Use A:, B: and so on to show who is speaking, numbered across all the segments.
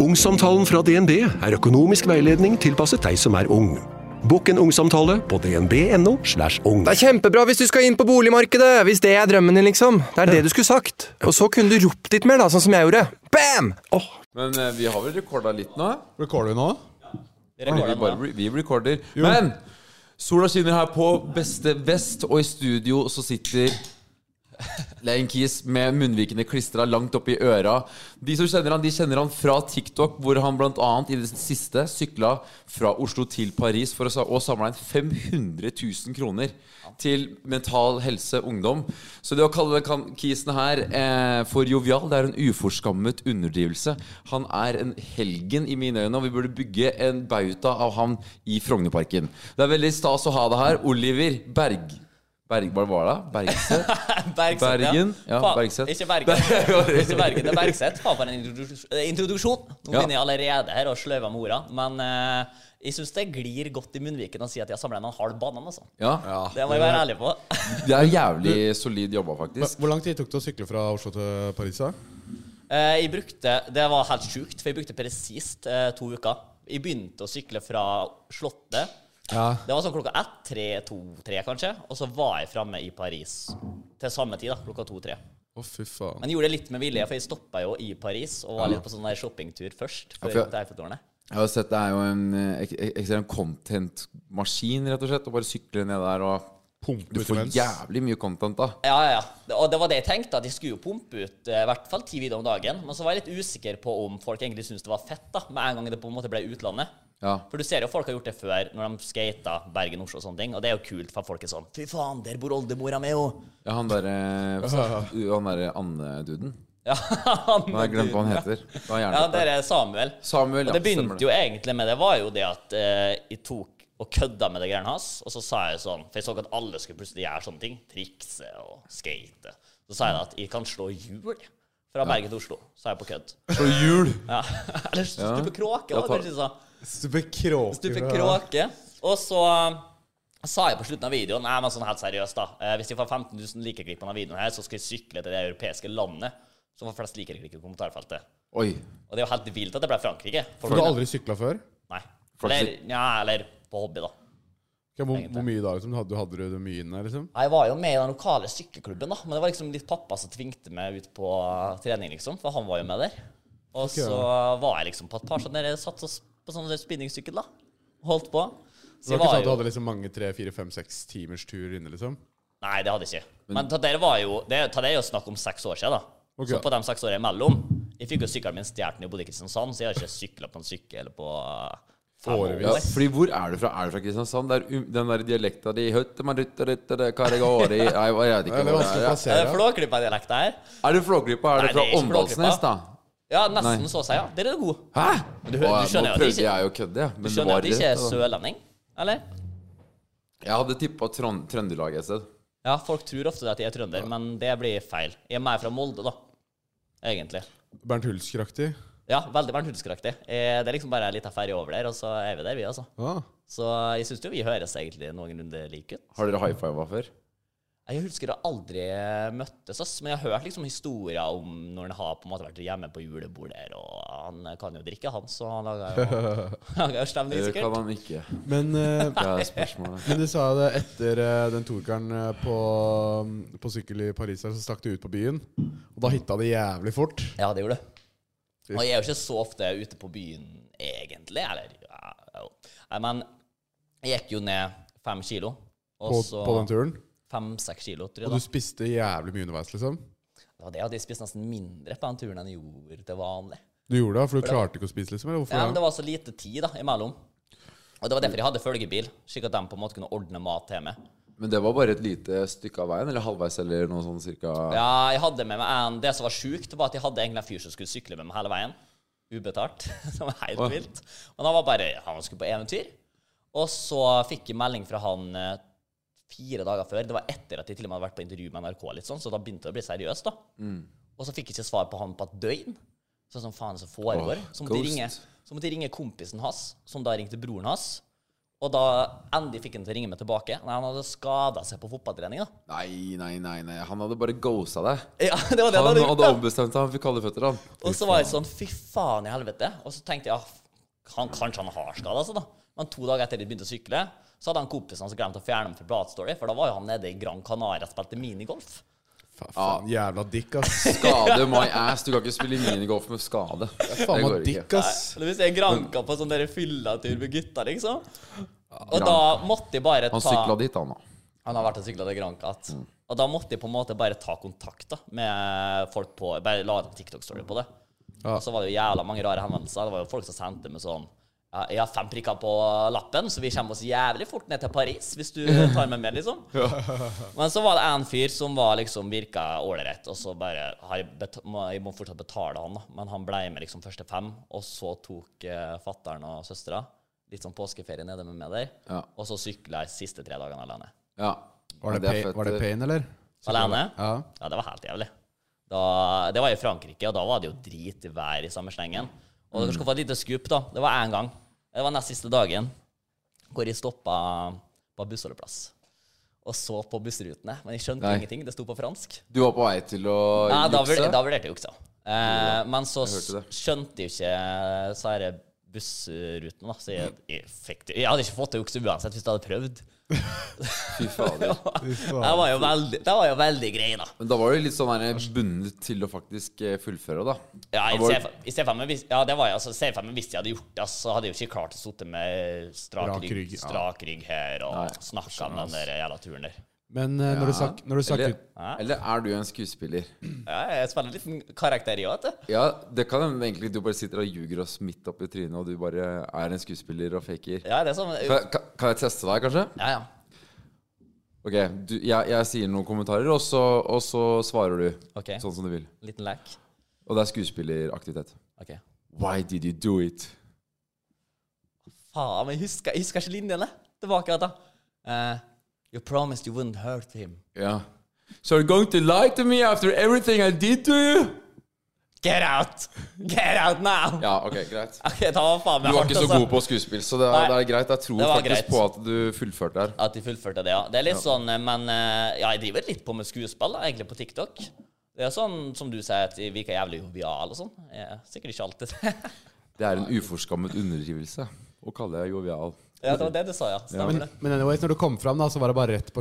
A: Ungsamtalen fra DNB er økonomisk veiledning tilpasset deg som er ung. Bokk en ungsamtale på dnb.no. slash ung.
B: Det er kjempebra hvis du skal inn på boligmarkedet! Hvis det er drømmen din, liksom. Det er det du skulle sagt. Og så kunne du ropt litt mer, da, sånn som jeg gjorde. Bam! Åh,
C: Men eh, vi har vel recorda litt nå?
D: Recorder vi nå?
C: Vi, bare, re- vi recorder. Men sola skinner her på beste vest, og i studio så sitter Lein Kies med munnvikene klistra langt oppi øra. De som kjenner han, de kjenner han fra TikTok, hvor han bl.a. i det siste sykla fra Oslo til Paris for å sa- å samle inn 500 000 kroner til Mental Helse Ungdom. Så det å kalle den kan- Kiesen her eh, for jovial, det er en uforskammet underdrivelse. Han er en helgen i mine øyne, og vi burde bygge en bauta av han i Frognerparken. Det er veldig stas å ha deg her. Oliver Berg... Berg, hva var det? Bergseth?
E: Bergseth,
C: Bergen? Ja,
E: Faen,
C: Bergseth.
E: Ikke Bergen. ikke Bergen, det er Bergseth. Faen, for en introduks- eh, introduksjon.
C: Ja.
E: Nå begynner jeg allerede her å sløve med orda. Men eh, jeg syns det glir godt i munnviken å si at jeg har samla en halv banan, altså.
C: Ah, Ja.
E: Det må jeg være ærlig på.
C: Det er jævlig solid jobba, faktisk.
D: Hvor lang tid tok det å sykle fra Oslo til Paris? da?
E: Eh, jeg brukte Det var helt sjukt, for jeg brukte presist eh, to uker. Jeg begynte å sykle fra Slottet. Det var sånn klokka ett, tre, to, tre kanskje. Og så var jeg framme i Paris til samme tid, da, klokka to-tre.
D: Å, fy faen.
E: Men jeg gjorde det litt med vilje, for jeg stoppa jo i Paris og var litt på sånn der shoppingtur først. Før
C: for-
E: jeg kom til Eiffeltårnet.
C: Jeg har sett det er jo en eh, ek- ek- ekstrem content-maskin, rett og slett. Og bare sykler ned der og Du
D: Pumpe ut
C: får
D: imens.
C: jævlig mye content, da.
E: Ja, ja, ja. Det- Og det var det jeg tenkte, at jeg skulle jo pumpe ut eh, i hvert fall ti videoer om dagen. Men så var jeg litt usikker på om folk egentlig syntes det var fett, da, med en gang det på en måte ble utlandet.
C: Ja.
E: For du ser jo folk har gjort det før, når de skata Bergen, Oslo og sånne ting. Og det er jo kult, for folk er sånn Fy faen, der bor oldemora mi, jo.
C: ja han derre Han derre Anne-duden.
E: Ja, han
C: Nå har jeg glemt hva han heter. Det var
E: Ja,
C: jernteppe.
E: der er Samuel.
C: Samuel,
E: Og
C: ja.
E: det begynte
C: stemmer
E: jo egentlig med det var jo det at eh, jeg tok og kødda med det greiene hans. Og så sa jeg sånn, for jeg så at alle skulle plutselig gjøre sånne ting. Trikse og skate. Så sa jeg at jeg kan slå hjul fra Bergen til Oslo. Sa jeg på kødd.
C: Slå hjul!
E: Ja. Eller stupe kråke.
C: Ja,
E: var
C: ta-
E: det kanskje jeg sa.
D: Stupe kråker.
E: Stupe
D: ja.
E: kråke. Og så eh, sa jeg på slutten av videoen Nei, men sånn helt seriøst, da. eh, Hvis jeg får 15 000 likeklikk på denne videoen her, så skal jeg sykle til det europeiske landet som får flest likeklikk i kommentarfeltet.
C: Oi.
E: Og det er jo helt vilt at det ble Frankrike.
D: Du har aldri sykla før?
E: Nei.
C: Folk
E: Eller, ja, eller på hobby, da.
D: Ok, hvor, hvor mye da? liksom? Hadde, hadde du det mye inne? liksom?
E: Nei, Jeg var jo med i den lokale sykkelklubben, da. Men det var liksom litt pappa som tvingte meg ut på trening, liksom. For han var jo med der. Og så var jeg liksom på et par sånne der, satt og s- på sånn spinningsykkel, da. Holdt på.
D: Det
E: Så
D: var ikke sånn
E: jeg var
D: at du
E: jo
D: hadde liksom mange tre, fire, fem, seks timers tur inne, liksom?
E: Nei, det hadde jeg ikke. Men ta dere var jo Det ta dere er jo snakk om seks år siden, da.
D: Ok.
E: Så på de seks årene imellom Jeg fikk jo sykkelen min stjålet når jeg bodde i Kristiansand, så jeg har ikke sykla på en sykkel på uh, fem år.
D: Årevis.
C: Ja, fordi hvor er du fra? Er du fra Kristiansand? Det er um- den der dialekta di høtte, man rutte, rutte, det, karigori. Nei, jeg vet
D: Det
C: ikke hvor
D: er
C: det
D: vanskelig
C: er. ja.
D: å
E: Er det
D: plassere.
E: Flåklypa-dialekta her?
C: Er du Flåklypa? Er
E: Nei,
C: du
E: det
C: fra
E: er ikke
C: Åndalsnes,
E: Flåklypa.
C: da?
E: Ja, nesten
C: Nei.
E: så å si, ja. Dere er gode.
C: Hæ?
E: du hø-
C: Å,
E: du
C: nå
E: skjønner jo at det
C: prøvde
E: ikke-
C: jeg å kødde, jeg. Men det
E: Skjønner
C: var
E: at det ikke er
C: rett, da.
E: sørlending, eller?
C: Jeg hadde tippa Trøndelag et sted.
E: Ja, folk tror ofte at jeg er trønder, men det blir feil. Jeg er mer fra Molde, da. Egentlig.
D: Bernt Hulsker-aktig.
E: Ja, veldig Bernthulsk-aktig. Eh, Det er liksom bare ei lita ferje over der, og så er vi der, vi, altså.
D: Ja.
E: Så jeg syns jo vi høres egentlig noenlunde like ut.
C: Har dere high fiva før?
E: Jeg husker da aldri møttes, ass, men jeg har hørt liksom historier om når han har på en måte vært hjemme på julebord der, og han kan jo drikke, han, så han lager jo, lager jo stemning,
C: Eller kan
E: sikkert.
C: han ikke?
D: Men, eh,
C: Det er spørsmålet.
D: men du sa det etter eh, den tokeren eh, på, på sykkel i Paris, her, så stakk du ut på byen. Og da hitta det jævlig fort.
E: Ja, det gjorde det. Og jeg er jo ikke så ofte ute på byen, egentlig. Eller ja, jo. Nei, Men jeg gikk jo ned fem kilo. Og
D: På,
E: så
D: på den turen.
E: Fem-seks kilo, tror
D: Og du
E: jeg. da.
D: spiste jævlig mye underveis, liksom?
E: Det var det at jeg spiste nesten mindre på den turen enn jeg gjorde til vanlig.
D: Du gjorde det, for du klarte ikke å spise, liksom? Eller hvorfor
E: Ja, men
D: det?
E: det var så lite tid da, imellom. Og det var derfor jeg hadde følgebil, slik at de på en måte kunne ordne mat til meg.
C: Men det var bare et lite stykke av veien, eller halvveis, eller noe sånn cirka
E: Ja, jeg hadde med meg en Det som var sjukt, var at jeg hadde egentlig en fyr som skulle sykle med meg hele veien. Ubetalt. Som var helt vilt. Men han var bare Han skulle på eventyr. Og så fikk jeg melding fra han eh, fire dager før. Det var etter at jeg til og med hadde vært på intervju med NRK, litt sånn, så da begynte det å bli seriøst, da. Og så fikk jeg ikke svar på han på et døgn. Sånn som faen som foregår.
C: Åh,
E: så, måtte jeg
C: ghost.
E: ringe, så måtte jeg ringe kompisen hans, som da ringte broren hans. Og da endelig fikk han til å ringe meg tilbake. Nei, han hadde skada seg på fotballtreninga.
C: Nei, nei, nei, nei. Han hadde bare ghosa deg.
E: Ja, det var
C: Han
E: det han hadde gjort.
C: hadde
E: da.
C: ombestemt seg. Han fikk kalde føtter, han.
E: Og så var jeg sånn Fy faen i helvete. Og så tenkte jeg ah, han, Kanskje han har skada seg, da. Men to dager etter de begynte å sykle, så hadde han kompisen hans glemt å fjerne ham fra Bradstory, for da var jo han nede i Gran Canaria og spilte minigolf.
D: Fa- Faen, jævla dick, ass.
C: Skade my ass. Du kan ikke spille minigolf med skade. Det
D: Faen
C: går
D: meg
C: ikke.
D: dick, ass.
E: Eller hvis jeg granka på sånn der fyllatur med gutta, liksom. Og
C: Granka.
E: da måtte jeg bare ta
C: Han sykla dit, han da.
E: Han har vært og sykla til Granca. at- Og da måtte jeg på en måte bare ta kontakt da, med folk på Bare la en TikTok-story på det. Og så var det jo jævla mange rare henvendelser. Det var jo folk som sendte meg sånn ja, Jeg har fem prikker på lappen, så vi kommer oss jævlig fort ned til Paris hvis du tar meg med, liksom. Men så var det en fyr som var liksom virka ålreit, og så bare har jeg, bet- må, jeg må fortsatt betale han, da. Men han ble med liksom første fem, og så tok eh, fattern og søstera litt sånn påskeferie nede med meg der,
C: Ja.
E: og så sykla jeg siste tre dagene alene.
C: Ja.
D: Var
C: Men er
D: det, pain,
C: fett. eh.
D: var det pain, eller?
E: Alene?
D: Ja.
E: Ja, det var helt jævlig. Da, det var i Frankrike, og da var det jo dritvær i samme slengen. Og dere skal få et lite skup, da. Det var én gang. Det var nest siste dagen hvor jeg stoppa på bussholdeplass. Og så på bussrutene. Men jeg skjønte
C: Nei.
E: ingenting. Det sto på fransk.
C: Du var på vei til å
E: Nei, da, vurd,
C: jukse?
E: da vurderte jeg juksa. Eh, men så
C: jeg hørte det.
E: skjønte jeg jo ikke eh, så disse bussrutene, da. Så jeg, jeg, fikk det. jeg hadde ikke fått til å jukse uansett hvis jeg hadde prøvd.
C: Fy fader.
E: Det var jo veldig, det var jo veldig grei, da.
C: Men da var du litt sånn her bundet til å faktisk eh, fullføre, da.
E: Ja, i
C: Da var-
E: C5 i C5 hvis- ja, det var jeg. Altså, C5 hvis jeg hadde gjort det, så hadde jeg jo ikke klart å sitte med strak
D: Rak
E: rygg,
D: rygg, ja.
E: strak rygg her og
C: Nei,
E: snakke om den der jævla turen der.
D: Men eh, når du
C: Ja.
D: stakk når du stakk
C: eller,
D: ut
C: eller er du en skuespiller?
E: Ja, jeg spiller en liten karakter i òg, vet du.
C: Ja, det kan hende egentlig du bare sitter og ljuger oss midt opp i trynet, og du bare er en skuespiller og faker.
E: Ja, det er sånn
C: Kan, kan- kan jeg teste deg, kanskje?
E: Ja, ja.
C: Ok, du, jeg, jeg sier noen kommentarer, og så, og så svarer du.
E: Ok.
C: Sånn som du vil.
E: Liten lek.
C: Og det er skuespilleraktivitet.
E: OK.
C: Why did you do it?
E: Faen, men jeg husker, jeg husker ikke linjene. Tilbake igjen, da. Eh, you promised you wouldn't hurt him.
C: Ja. So you're going to lie to me after everything I did to you?
E: Get out! Get out now!
C: Ja, ok, greit.
E: Ok, da var faen meg
C: Du var
E: hardt,
C: ikke så
E: altså.
C: god på skuespill, så det
E: Nei.
C: er, det er greit. Jeg tror
E: Det var
C: faktisk
E: greit.
C: på at du fullførte her.
E: At de fullførte det, ja. Det er litt sånn, eh, men eh, Ja, jeg driver litt på med skuespill, da, egentlig, på TikTok. Det er sånn som du sier, at jeg virker jævlig jovial og sånn. Jeg er Sikkert ikke alltid det.
C: Det er en uforskammet underdrivelse å kalle deg jovial.
E: ja, det var det du sa, ja. Stemmer
D: men,
E: det.
D: men anyways, når du kom fram, da, så var det bare rett på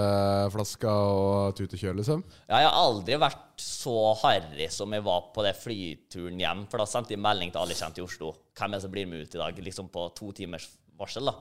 D: sjampisflaska og tut og kjør, liksom?
E: Ja, jeg har aldri vært så harry som jeg var på det flyturen hjem, for da sendte jeg melding til alle jeg kjente i Oslo. Hvem er det som blir med ut i dag? Liksom på to timers varsel, da.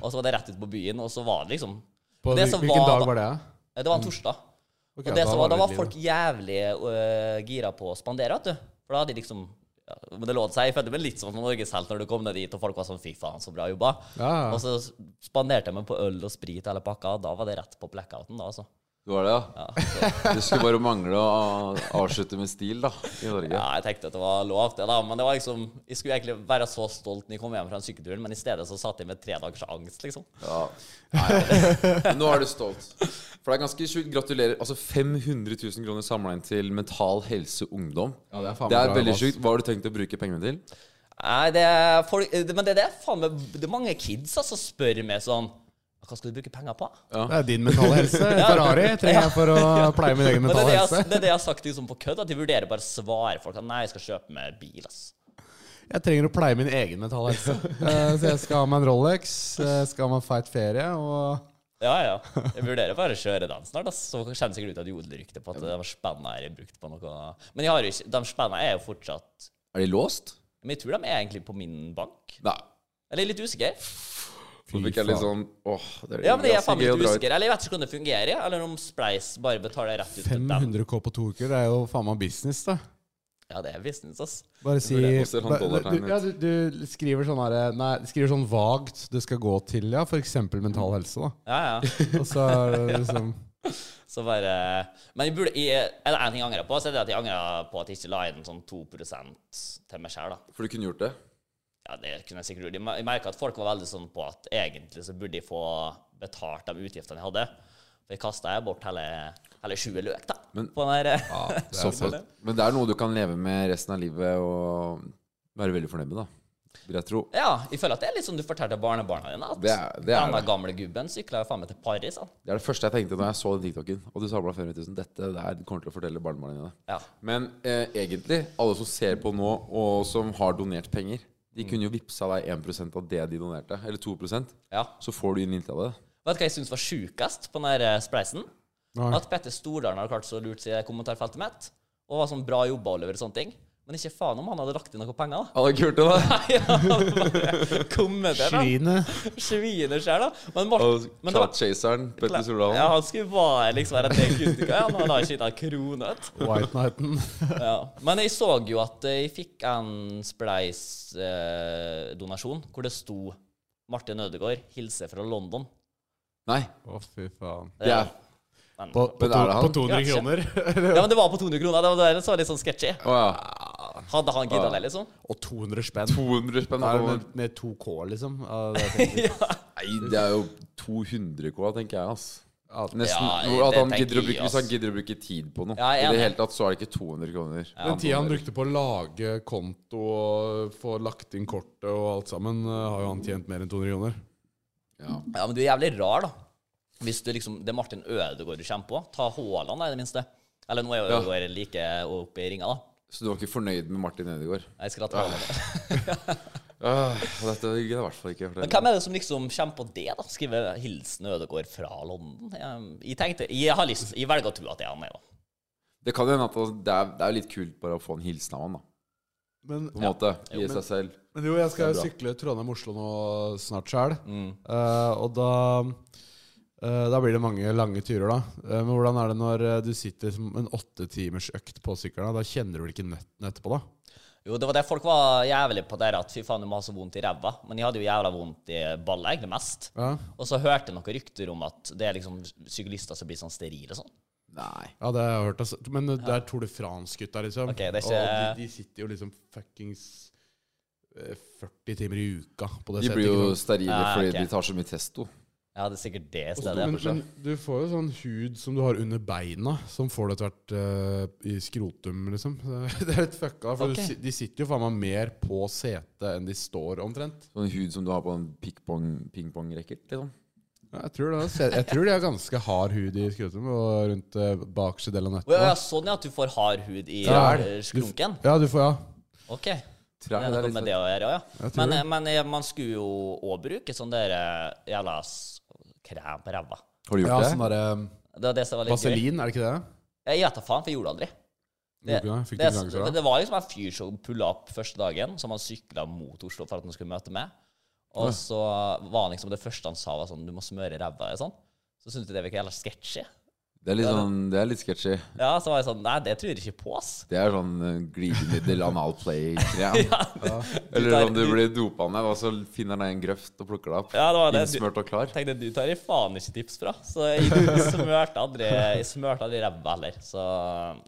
E: Og så var det rett ut på byen, og så var det liksom
D: På,
E: Det
D: hvil-
E: som
D: hvilken
E: var-
D: dag var det? da?
E: Eh, Det var en torsdag.
D: Mm. Ok,
E: og det
D: da
E: som var, da
D: det
E: var
D: liv,
E: folk jævlig øh, gira på å spandere, vet du. For da hadde de liksom ja, Men det lå seg. Jeg følte meg litt som en norgeshelt når du kom ned dit, og folk var sånn 'fy faen, så bra jobba'.
D: Ja, ja.
E: Og så spanderte jeg meg på øl og sprit hele pakka, og da var det rett på blackouten, da, altså.
C: Du var det, ja? Det skulle bare mangle å avslutte med stil, da, i Norge.
E: Ja, jeg tenkte at det var lov, det, da. Men det var liksom Jeg skulle egentlig være så stolt når jeg kom hjem fra den sykkelturen, men i stedet så satt jeg med tre dagers angst, liksom.
C: Ja. Nei, men nå er du stolt. For det er ganske sjukt. Gratulerer. Altså 500 000 kroner samla inn til Mental Helse Ungdom.
D: Ja, det er faen
C: Det er
D: meg bra
C: veldig
D: jobba, ass.
C: sjukt. Hva har du tenkt å bruke pengene til?
E: Nei, det er folk eh, Men det er det, faen meg Det er mange kids som altså, spør meg sånn Hva skal du bruke penger på?
D: Det er din mentale helse. Ferrari trenger jeg for å pleie min egen
E: Men det er
D: mentale
E: det, jeg,
D: helse.
E: det er det jeg har sagt liksom på kødd, at de vurderer bare å svare folk at nei, jeg skal kjøpe meg bil, ass.
D: Jeg trenger å pleie min egen mentale helse. Eh, Så jeg skal ha meg en Rolex, jeg skal ha meg en feit ferie og
E: Ja, ja. Jeg vurderer bare å kjøre den snart, ass. Så kjenner sikkert ut at jodelryktet på at de spenna er brukt på noe Men jeg har jo ikke, de spenna er jo fortsatt
C: Er de låst?
E: Men jeg tror de er egentlig på min bank.
C: Nei.
E: Eller jeg er litt usikker.
C: Så fikk jeg litt sånn Åh, det er
E: Ja, men jeg er
C: ganske
E: faen
C: gøy
E: meg
C: å
E: litt
C: dra ut.
E: usikker. Eller jeg vet ikke hvordan det fungerer, jeg. eller om Spleis bare betaler rett ut til dem.
D: 500 K på to uker. Det er jo faen meg business, da.
E: Ja, det er business, ass.
D: Bare si
C: det er også han
D: Ba-
C: dollartegnet.
D: du, ja, du, du skriver sånn her Nei, du skriver sånn vagt det skal gå til, ja. F.eks. mental helse, da.
E: Ja, ja.
D: Og så er det liksom
E: Så bare Men jeg burde jeg, Er det én ting jeg angrer på, så er det at jeg angrer på at jeg ikke la inn sånn 2 til meg sjøl, da.
C: For du kunne gjort det?
E: Ja, det kunne jeg sikkert gjort. Jeg mer- Jeg merka at folk var veldig sånn på at egentlig så burde de få betalt de utgiftene jeg hadde. For jeg kasta bort hele, hele sjue løk, da.
C: Men-
E: på den der.
C: Såpass. Men det er noe du kan leve med resten av livet og være veldig fornøyd med, da. vil jeg tro.
E: Ja, jeg føler at det er litt som du fortalte barnebarna dine. At
C: Det er- det er
E: denne
C: det.
E: gamle gubben sykla jo faen meg til Paris. Han.
C: Det er det første jeg tenkte når jeg så den TikToken. Og du samla 500 000. Dette der kommer til å fortelle barnebarna dine.
E: Ja.
C: Men eh, egentlig, alle som ser på nå, og som har donert penger, de kunne jo vippsa deg 1 av det de donerte. Eller 2
E: Ja.
C: Så får du inn litt av det.
E: Vet du hva jeg syns var sjukest på den her eh, spleisen?
D: Nei.
E: At Petter Stordalen har klart så lurt seg i kommentarfeltet mitt, og var sånn bra jobba og leverer sånne ting. Men ikke faen om han hadde lagt inn noe penger, da.
C: Alle har ikke hørt det, da?
E: Nei, han hadde bare kommet der, da. Sviner sjøl, da. Men Morten men det var-
C: Cloud-chaseren Petter Stordalen.
E: Ja, han skulle bare liksom være en kunnskap. Han hadde ikke gitt en krone. vet du.
D: White Knighten.
E: Ja. Men jeg så jo at eh, jeg fikk en spleis-donasjon hvor det sto Martin Ødegaard hilser fra London. Eh,
C: Nei.
D: Å, fy faen.
C: Det er,
D: På,
C: Men
D: på,
C: er
D: to,
C: det han?
D: på 200
E: Ja,
D: kroner.
E: Ja, men det var på 200 kroner. Det var det som var litt sånn sketchy.
C: å ja.
E: Hadde han gidda det, liksom?
D: Og 200 spenn.
C: 200 spenn.
D: Er det
C: Nei,
D: med, med 2K, liksom? Ja, det er fint.
C: det er jo 200K, tenker jeg, ass. Nesten,
E: Ja,
C: at
E: det
C: han
E: tenker
C: gidder å
E: jeg,
C: bruke, hvis
E: ass.
C: han gidder å bruke tid på noe.
E: Ja, jeg er
C: I det
E: enig.
C: hele tatt så er det ikke 200 kroner.
D: Den tida han brukte på å lage konto og få lagt inn kortet og alt sammen, eh, har jo han tjent mer enn 200 kroner.
C: Ja.
E: Ja, men du er jævlig rar, da. Hvis du liksom Det er Martin Ødegaard du kommer på. Ta Haaland, da, i det minste. Eller nå er jo
C: Ja.
E: Ødegaard like oppe i ringa, da.
C: Så du var ikke fornøyd med Martin Ødegaard?
E: Jeg skal ta Haaland.
C: Ah, dette gidder jeg i hvert fall ikke.
E: Men
C: fortelle.
E: hvem er det som liksom kommer på det, da? Skrive 'Hilsen Ødegaard fra London'? Jeg, jeg tenkte Jeg har lyst Jeg velger å tro at det er han, jeg, da.
C: Det kan jo hende at det er, det er jo litt kult bare å få en hilsen av han, da.
D: Men,
C: På en måte. I
D: men-
C: seg selv.
D: men jo, jeg
C: Det
D: skal
C: er bra. Mm.
D: sykle Trondheim-Oslo nå snart sjæl. og da eh, Da blir det mange lange turer, da. Eh, men hvordan er det når eh, du sitter som en åtte timers økt på sykkelen? Da Da kjenner du vel ikke nøtten etterpå, da?
E: Jo, det var det folk var jævlig på der, at fy faen, du må ha så vondt i ræva. Men jeg hadde jo jævla vondt i balla, egentlig mest.
D: Ja,
E: Og så hørte jeg noen rykter om at det er liksom syklister som blir sånn sterile og sånn.
C: Nei.
D: ja det har jeg hørt. Altså. Men eh, det er Tour de France-gutta, liksom.
E: Ok, det er
D: Og
E: ikke-
D: de, de sitter jo liksom fuckings eh, 40 timer i uka på det
C: De blir
D: ikke
C: jo
D: sant?
C: sterile
E: Ah,
C: fordi
E: ok.
C: de tar så mye testo.
E: Ja, det er sikkert det stedet.
D: Men, men du får jo sånn hud som du har under beina, som får det etter hvert eh, i skrotum, liksom. Så Det er litt fucka, for du
E: Ok.
D: si- de sitter jo faen meg mer på setet enn de står, omtrent.
C: Sånn hud som du har på en pingpong- pingpong-racket, liksom.
D: Ja, Jeg tror, det, Se- jeg tror de har ganske hard hud i skrotum og rundt eh, bakerste del av
E: Å, ja, ja,
D: nøttene.
E: sånn ja, at du får hard hud i
D: Ja.
E: eh, skrunken?
D: Ja, du får ja.
E: OK. Det
C: Trær, det
E: er
C: er
E: noe
C: litt sånn.
E: med det å gjøre, ja.
D: sånn. Jeg tror
E: Men,
D: det.
E: eh, men eh, man skulle jo òg bruke sånn der eh, jævla s- krem på ræva.
C: Har du
D: ja
C: gjort
D: sånn
C: det?
D: derre
E: Det var det som var litt gøy.
D: Vaselin, er det ikke det?
E: Jeg vet da faen, for jeg gjorde det aldri. Det,
D: Gjorde du ikke det? Fikk du
E: det,
D: ikke
E: det,
D: angst for det?
E: var liksom en fyr som pulla opp første dagen, som han sykla mot Oslo for at han skulle møte meg. Og så var han liksom det første han sa, var sånn Du må smøre ræva i sånn. Så syntes jeg det virka jævla sketchy.
C: Det er litt sånn Det er litt sketchy.
E: Ja, så var jeg sånn Nei, det tror jeg ikke på, ass.
C: Det er sånn eh, glidemiddel, anal play-krem.
E: tar-
C: Eller om du blir dopa ned, og så finner han deg en grøft og plukker deg opp.
E: Ja, det var det.
C: Innsmørt og klar.
E: Jeg tenkte du tar i faen ikke tips fra. Så jeg smørte aldri Jeg smørte aldri ræva heller. Så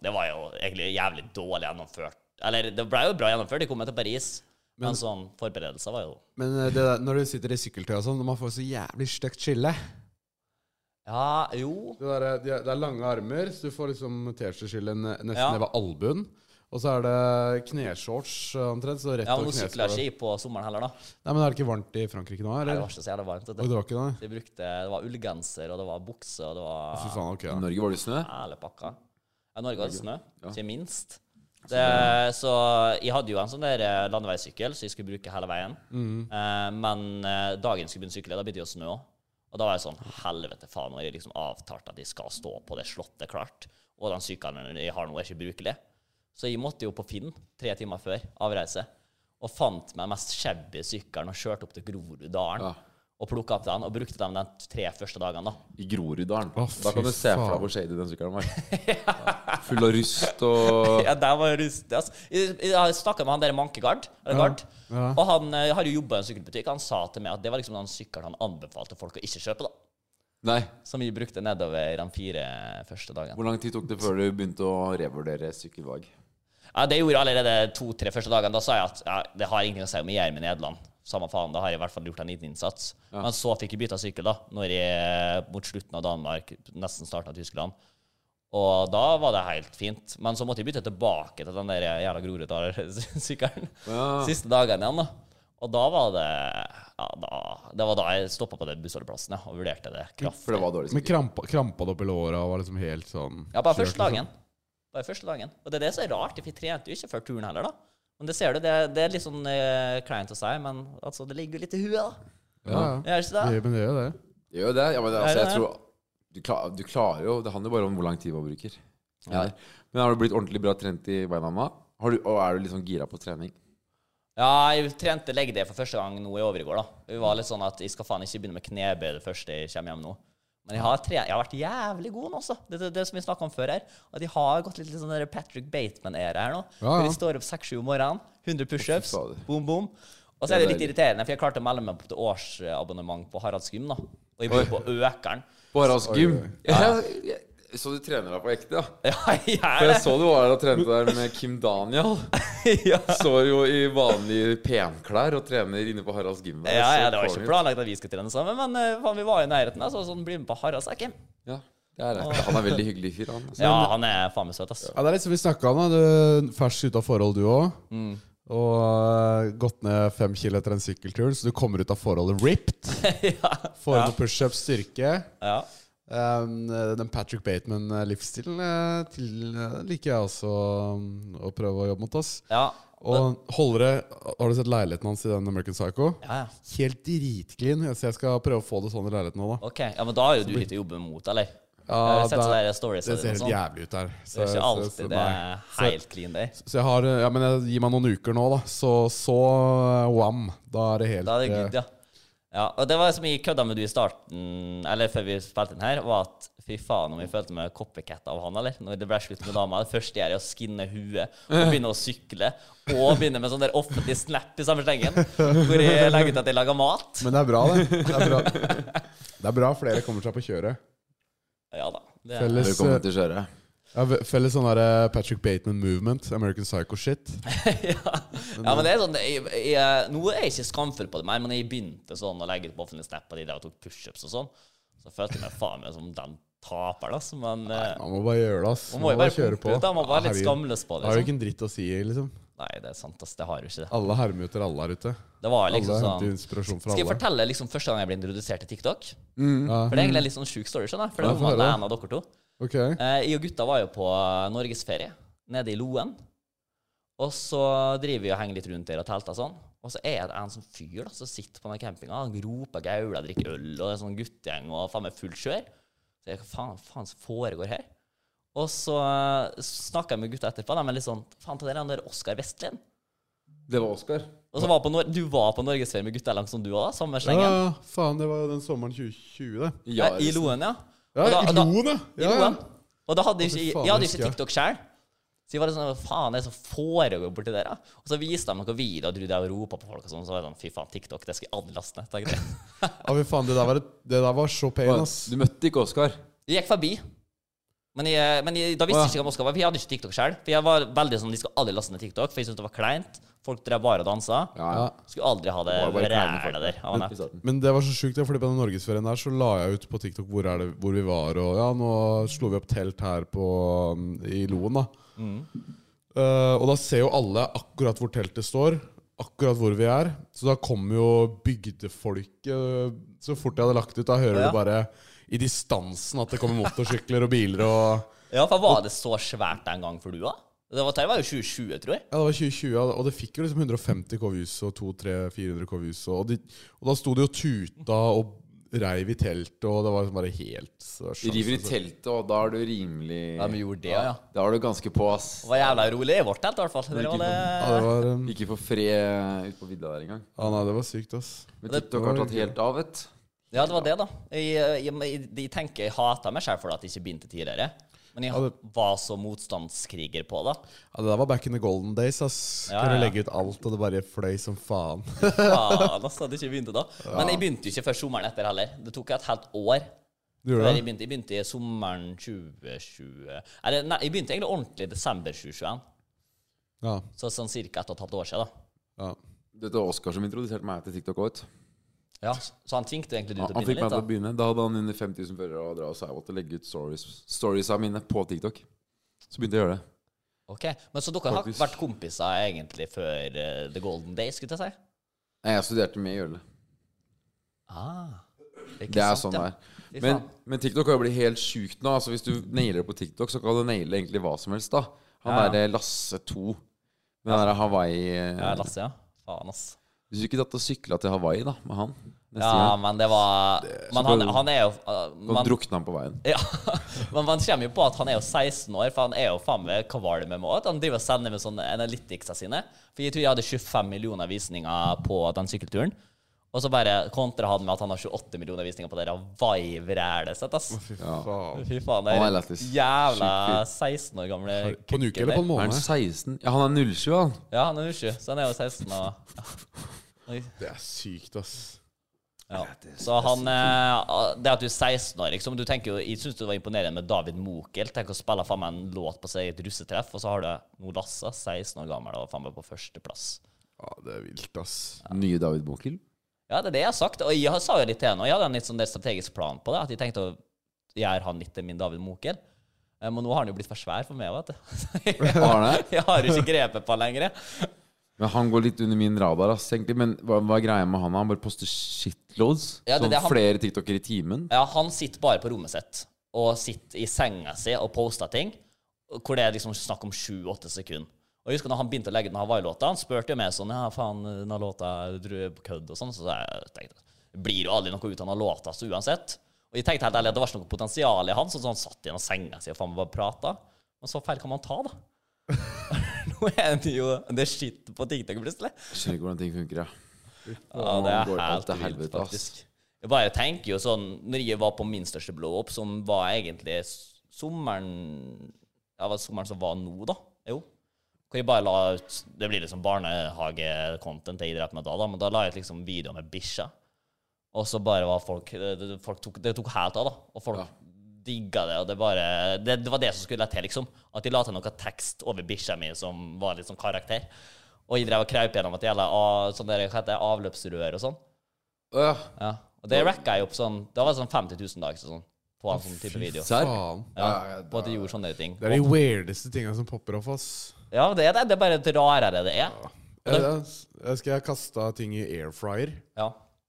E: det var jo egentlig jævlig dårlig gjennomført. Eller det ble jo bra gjennomført, de kom jo til Paris. Men, sånn forberedelser var jo
D: Men eh, det der, når du sitter i sykkeltøy og sånn, man får så jævlig stygt skille.
E: Ja, jo.
D: Det, der, de, er- det er lange armer, så du får liksom T-skjorteskille ne- nesten
E: Ja.
D: ned ved albuen. Og så er det kneshorts eh, omtrent. Så rett
E: Ja, men
D: over
E: nå sykla
D: kneskålen.
E: ikke jeg på sommeren heller, da.
D: Nei, men er det ikke varmt i Frankrike nå?
E: Nei,
D: Eller?
E: det var ikke så jævlig varmt. vet du.
D: Oi, det var ikke det?
E: Så jeg brukte, det var ullgenser, og det var bukse, og det
D: Fy
E: var
D: faen, ok.
C: I
D: Ja.
C: Norge var det snø.
E: hele pakka. Ja, Norge hadde snø, ikke minst. Det,
C: det-
E: så jeg hadde jo en sånn der eh, landeveissykkel som jeg skulle bruke hele veien. Eh, men eh, dagen skulle begynne å sykle, da begynte det å snø òg. Og da var jeg sånn Helvete, faen, nå har jeg liksom avtalt at jeg skal stå på det slottet klart. Og den sykkelen jeg har nå, er ikke brukelig. Så jeg måtte jo på Finn tre timer før avreise. Og fant meg mest shabby sykkelen og kjørte opp til Groruddalen.
C: Ja.
E: Og plukka opp den, og brukte den de tre første dagene, da.
C: I Groruddalen.
D: Å,
C: da kan
D: fy
C: du se for
D: faen.
C: deg hvor shady den sykkelen var. Full av rust og
E: Ja, der var altså, rust, ass. Jeg, jeg snakka med han der Mankegard, eller Gard,
D: ja.
E: og han eh, har jo jobba i en sykkelbutikk. Han sa til meg at det var liksom den sykkelen han anbefalte folk å ikke kjøpe, da.
C: Nei.
E: Som vi brukte nedover de fire første dagene.
C: Hvor lang tid tok det før du begynte å revurdere sykkelvalg?
E: Ja, det gjorde jeg allerede to-tre første dagene. Da sa jeg at ja, det har ingenting å si om jeg gjør med Nederland. Samme faen, da har jeg i hvert fall gjort en liten innsats. Men så fikk jeg bytta sykkel, da, når jeg, eh, mot slutten av Danmark, nesten starten av Tyskland. Og da var det helt fint. Men så måtte jeg bytte tilbake til den der jævla Groruddal-sykkelen.
C: Ja.
E: Siste dagene igjen, da. Og da var det ja, da, Det var da jeg stoppa på den bussholdeplassen ja, og vurderte det kraftig.
C: For det var dårlig
D: Men
C: sikkert.
D: krampa, krampa det opp i låra og var liksom helt sånn
E: Ja, bare første
D: kjørt, liksom.
E: dagen. Bare første dagen. Og det er det som er rart, for jeg trente jo ikke før turen heller, da. Men det ser du, det, det er litt sånn eh, kleint å si, men altså, det ligger jo litt i huet, da.
D: Ja, ja.
E: Gjør det ikke det?
D: Det, men det gjør jo det.
C: Det gjør jo det. Ja, men det, altså, jeg
E: Ja, ja, ja.
C: tror du, klar, du klarer jo Det handler jo bare om hvor lang tid man bruker.
E: Ja.
C: Men har du blitt ordentlig bra trent i beina nå? Har du, og er du litt sånn gira på trening?
E: Ja, jeg trente leggdel for første gang nå i overgår, da. Vi var litt sånn at jeg skal faen ikke begynne med knebøy det første jeg kommer hjem nå. Men jeg har, tre, jeg har vært jævlig god nå, altså. Det, det, det som vi snakka om før her. At jeg har gått litt, litt sånn der Patrick Bateman-æra her nå.
D: Ja, ja.
E: Hvor jeg står opp 6-7 om morgenen, 100 pushups,
C: Fy fader.
E: boom, boom. Og så er det litt
C: deilig.
E: irriterende, for jeg klarte å melde meg på et årsabonnement på Haralds Gym, da. Og jeg bor på Økeren.
C: På Haralds gym? Ja. Jeg- jeg- Så du trener deg på ekte, ja?
E: Ja, jeg
C: For
E: er
C: jeg så du var der og trente der med Kim Daniel.
E: det. Ja.
C: Står jo i vanlige penklær og trener inne på Haralds gym. der.
E: Ja, ja,
C: Så
E: det var ikke
C: corny.
E: planlagt at vi skulle trene sammen, men eh, faen, vi var i nærheten. Altså, sånn, bli med på Haralds, da, Kim.
C: Ja, det er det. Han er veldig hyggelig fyr, han. altså.
E: Ja, han er faen meg søt, ass.
D: Ja, det er litt som vi snakka om. da. Du er fersk ute av forhold, du òg.
E: Mm.
D: Og øh, gått ned fem kilo etter en sykkeltur, så du kommer ut av forholdet ripped. Får noen pushups, styrke.
E: Ja.
D: Um, den Patrick Bateman-livsstilen eh, til- eh, liker jeg også um, å prøve å jobbe mot. ass
E: Ja.
D: Og holder det Har du sett leiligheten hans i den American Psycho?
E: Ja, ja.
D: Helt dritclean. Så jeg skal prøve å få det sånn i leiligheten nå, da.
E: Ok, ja, men da er jo du litt å jobbe mot, eller?
D: Ja,
E: jeg har sett sånne
D: det-
E: der stories
D: Det
E: av
D: ser
E: det
D: helt
E: og sånn.
D: jævlig ut der.
E: Det er ikke alltid det er
D: nei.
E: helt clean der.
D: Så jeg har Ja, men jeg gir meg noen uker nå, da. Så så wam. Da er det helt eh,
E: Da er det good, ja. Ja, og det var som jeg kødda med du i starten, eller før vi spilte inn her, var at fy faen om jeg følte meg copycat av han, eller? Når det ble slutt med dama. Det første jeg gjør, er å skinne huet og begynne å sykle. Og begynne med sånn der offentlig snap i samme slengen, hvor jeg legger ut at jeg lager mat.
D: Men det er bra, det. Det er bra, det er bra flere kommer seg på kjøret.
E: Ja da. Det er,
D: Felles,
C: Velkommen til kjøret.
D: ja, felles sånn der Patrick Bateman movement. American Psycho-shit.
E: ja. ja, men det er sånn jeg, jeg, Nå er jeg ikke skamfull på det mer, men jeg begynte sånn å legge ut på offentlig snap at jeg drev og tok pushups og sånn. Så følte jeg meg faen meg som den taperen, altså. Men eh,
D: Man må bare gjøre det, ass.
E: man må jo bare
D: kjøre
E: pumpe ut, da. Man må være litt
D: Herregud.
E: skamløs på
D: Da
E: det.
D: har du
E: Liksom.
D: ikke en dritt å si, liksom.
E: Nei, det er sant, ass. Det har jo ikke det.
D: Alle hermer etter alle her ute.
E: Det var
D: Alle
E: liksom
D: henter
E: sånn
D: inspirasjon fra
E: Skal jeg
D: alle.
E: fortelle liksom første gang jeg ble introdusert til TikTok?
D: Ja.
E: For det er egentlig en litt sånn sjuk story, skjønner jeg. For det
D: Ja,
E: var
D: få
E: med
D: høre.
E: en av dere to.
D: Ok.
E: Eh, jeg og gutta var jo på eh, norgesferie nede i Loen. Og så driver vi og henger litt rundt der og telter og sånn. Og så er det en sånn fyr da, som sitter på den campinga. Han roper gaula, drikker øl, og det er sånn guttegjeng og faen meg fullt kjør. Så jeg, hva faen, faen som foregår her? Og så eh, snakker jeg med gutta etterpå. De er litt sånn Faen, det er han der Oskar Vestlien.
C: Det var Oskar.
E: Og så var på Nor du var på norgesferie med gutta langt som du òg, samme
D: Ja,
E: slengen.
D: faen, det var jo den sommeren 2020, det.
E: Ja, I Loen, ja.
D: Ja,
E: Og da-
D: i
E: og da-
D: Loen, ja.
E: I
D: ja, ja.
E: Loen. Og da hadde jeg
D: fy
E: ikke,
D: faen,
E: jeg hadde
D: husker
E: ikke
D: jeg.
E: TikTok sjøl. Så jeg var litt sånn Faen, det er så foregår borti der, da. Og så viste de noen videoer og dro og ropa på folk og sånn. Så var jeg sånn Fy faen, TikTok, det skal jeg anlaste ned. tenkte jeg.
D: Ja, fy faen, det der var, et- det der var så pain, ass.
C: Du møtte ikke Oskar?
E: Jeg gikk forbi. Men, jeg, men jeg, da visste jeg ikke hvem Oskar var, for jeg hadde ikke TikTok sjøl. For jeg var veldig sånn De skal aldri laste ned TikTok, for jeg syntes det var kleint. Folk drev bare og dansa.
C: Ja,
E: Skulle aldri ha det
C: Det var bare kleine folk,
E: ræla der. Ja,
C: ja.
E: nei.
D: Men det var så sjukt, ja, fordi på den norgesferien der så la jeg ut på TikTok hvor, er det, hvor vi var, og ja, nå slo vi opp telt her på, um, i Loen, da. Eh, og da ser jo alle akkurat hvor teltet står, akkurat hvor vi er. Så da kommer jo bygdefolket eh, så fort jeg hadde lagt ut. Da hører
E: Ja.
D: du bare i distansen at det kommer motorsykler og biler og
E: ja, for var det så svært den gang for du òg? Det var, det var jo 2020, tror jeg.
D: Ja, det var 2020, ja, og det fikk jo liksom 150 KVUs og 200-400 KVUs. Og, de, og da sto det jo tuta og reiv i teltet, og det var liksom bare helt så
C: Du river i
D: sjansen-
C: teltet, og da er du rimelig
E: Ja, vi gjorde det, ja.
C: Da er du ganske på, ass.
E: Det var jævla rolig i vårt telt, i hvert fall. Det var det.
D: Ja, det var, um,
C: Ikke for fred ute på vidda der engang.
D: ja, nei, det var sykt, ass.
C: Men TikTok har tatt helt av, vet du.
E: Ja, det var det, da. Jeg, jeg, jeg, jeg tenker jeg hata meg selv for at jeg ikke begynte tidligere. Men jeg
D: Ja, det-
E: var så motstandskriger på det.
D: Ja, det der var back in the golden days, ass.
E: Ja,
D: Kunne
E: ja.
D: legge ut alt, og det bare fløy som faen.
E: Faen, altså, at jeg ikke begynte da. Men jeg begynte jo ikke før sommeren etter heller. Det tok et helt år.
D: Du
E: før
D: gjorde
E: Jeg
D: det?
E: begynte, jeg begynte i sommeren 2020 Eller, nei, jeg begynte egentlig ordentlig i desember 2021.
D: Ja.
E: Så sånn cirka ett og et halvt år siden, da.
D: ja.
C: Det var Oskar som introduserte meg til TikTok òg.
E: Ja, så han tvingte egentlig du
C: Han
E: til å
C: han fikk meg til
E: begynne
C: å
E: litt, da.
C: begynne. Da hadde han under 5000 følgere, og dra og sa jeg måtte legge ut stories storiesa mine på TikTok. Så begynte jeg å gjøre det.
E: Ok, Men så dere har
C: Faktisk.
E: vært kompiser egentlig før eh, The Golden Day, skulle jeg si?
C: Nei, jeg studerte med Gjølle.
E: Ah,
C: Det er sånn det er.
E: Fy
C: Men,
E: faen.
C: men TikTok har jo blitt helt sjukt nå. Altså Hvis du nailer det på TikTok, så kan du naile egentlig hva som helst. da Han
E: Ja, ja.
C: derre Lasse 2. Den derre Hawaii eh,
E: Ja, Lasse, ja. Faen, ass.
C: Hvis du ikke datt og sykla til Hawaii da med han neste
E: Ja,
C: gang,
E: men det var Men han, han er jo uh,
C: så
E: man,
C: drukna han på veien.
E: ja, men man kommer jo på at han er jo 16 år, for han er jo faen meg Hva var det med meg? At Han driver og sender med sånne analyticsa sine. For jeg tror jeg hadde 25 millioner visninger på den sykkelturen. Og så bare kontra han med at han har 28 millioner visninger på det Vive-rælet sitt, ass.
D: Faen.
E: Fy faen, det
C: Han
E: er
C: er lættis.
E: jævla
C: Sjukt fyr.
E: 16 år gamle
D: På en uke
E: kukken
D: eller på en
E: der.
C: Er han
D: måned?
C: 16? Ja, han er 07, han.
E: Ja, han er 27, så han er jo 16 og ja.
D: Det er sykt, ass.
E: Ja. Så han eh, Det at du er 16 år, liksom. Du tenker jo, jeg syns det var imponerende med David Mokel. Tenk å spille faen meg en låt på seg i et russetreff, og så har du Nordassa, 16 år gammel, og faen meg på førsteplass.
D: Ja, det er vilt, ass.
C: Nye David Bokel.
E: Ja, det er det jeg har sagt. Og jeg sa jo litt til henne, og jeg hadde en litt sånn der strategisk plan på det, at jeg tenkte å gjøre han litt til min David Mokel. Eh, Men nå har han jo blitt for svær for meg, vet du.
C: Arne?
E: Jeg har jo ikke grepet på han lenger. jeg.
C: Men han går litt under min radar, ass, egentlig. Men hva, hva er greia med han? Han bare poster shitloads.
E: Ja, det er
C: sånn
E: det han-
C: flere TikToker i timen.
E: Ja, han sitter bare på rommet sitt og sitter i senga si og poster ting, hvor det er liksom snakk om 7-8 sekunder. Og jeg husker når han begynte å legge den Hawaii-låta, han spurte jo meg sånn Ja, faen, den her låta tror jeg er på kødd og sånn. Så jeg tenkte det blir jo aldri noe ut av den låta så uansett. Og jeg tenkte helt ærlig at det var ikke noe potensial i han, så han satt igjen og senga si og faen meg bare prata. Men så feil kan man ta, da. Nå er det jo Det er skitt på TikTok plutselig.
C: Skjønner ikke hvordan ting funker, jeg.
E: Ja, det
C: går alt
E: er helt
C: til
E: vilt,
C: helvete, ass.
E: faktisk. Jeg bare tenker jo sånn Når jeg var på min største blow-up, som var egentlig s- sommeren Ja, var det sommeren som var nå, da? Jo. Hvor jeg bare la ut Det blir liksom barnehage-content jeg drev med da, da, men da la jeg ut liksom videoer med bikkja. Og så bare var folk Det, det- folk tok, det tok helt av, da. Og folk digga det, og det bare det, det var det som skulle til, liksom. At de la til noe tekst over bikkja mi som var litt sånn karakter. Og jeg drev og kraup gjennom et jævla av- sånn der, hva heter det, avløpsrør og sånn.
C: Ja.
E: Ja. Og det racka jeg opp sånn Det var sånn 50 000 dager sånn, på en sånn type video.
C: Serr?
D: Faen.
E: Ja, på at jeg gjorde sånne ting.
D: Det er de weirdeste tinga som popper off, ass.
E: Ja, det er det. Det er bare det rarere det er.
D: Jeg, jeg, jeg skal kaste ting i air fryer.
E: Ja.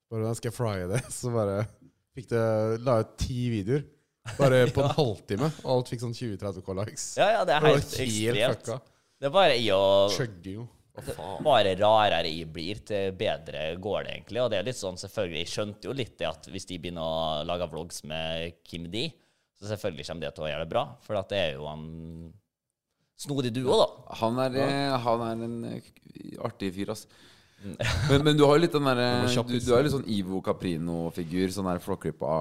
D: Bare da skal jeg frye det. Så bare fikk det La ut ti videoer. Bare på en halvtime. Og alt fikk sånn 20-30 k likes.
E: ja, ja, det er
D: Det var
E: helt ekstremt.
D: fucka.
E: Det er bare i å
D: Chugger jo. Hva faen?
E: Bare rarere jeg blir, til bedre går det egentlig. Og det er litt sånn, selvfølgelig, jeg skjønte jo litt det at hvis de begynner å lage vlogs med Kim D, så selvfølgelig kommer det til å gjøre det bra. For at det er jo en snodig duo, da.
C: Han er, eh, han er en eh, artig fyr, ass.
E: Mm.
C: Men, men du har jo litt den derre du, du er jo litt sånn Ivo Caprino-figur. Sånn der flåklippa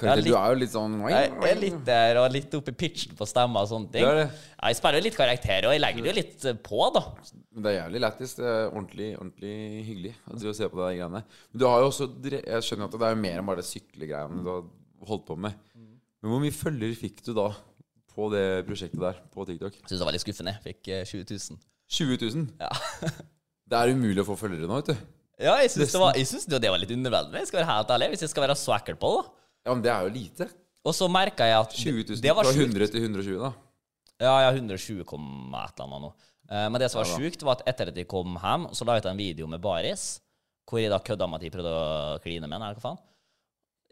C: karakter. Du
E: litt-
C: er jo litt sånn
E: Jeg jeg er litt der og litt oppe i pitchen på stemma og sånne ting.
C: Det er det.
E: Ja, jeg spiller jo litt karakter, og jeg legger det jo litt eh, på, da.
C: Men det er jævlig lættis. Det er ordentlig, ordentlig hyggelig å drive og se på de greiene. Men du har jo også dre- Jeg skjønner at det er mer enn bare det syklegreiene du har holdt på med. Men hvor mye følger fikk du da på det prosjektet der på TikTok?
E: Syns det var litt skuffende. Fikk eh, 20 000.
C: 20 000? det er umulig å få følgere nå, vet du.
E: Ja, jeg syns det, var- jeg syns jo det var litt underveldende, jeg skal være helt ærlig, hvis jeg skal være så ekkel på det. da.
C: Ja, men det er jo lite.
E: Og så merka jeg at
C: 20 000
E: det var
C: fra
E: sjukt.
C: 100 til 120, da.
E: Ja, ja, 120 kom et eller annet nå. Eh, Men det som var sjukt, var at etter at jeg kom hjem, så la jeg ut en video med Baris, hvor jeg da kødda med at jeg prøvde å kline med han, eller hva faen.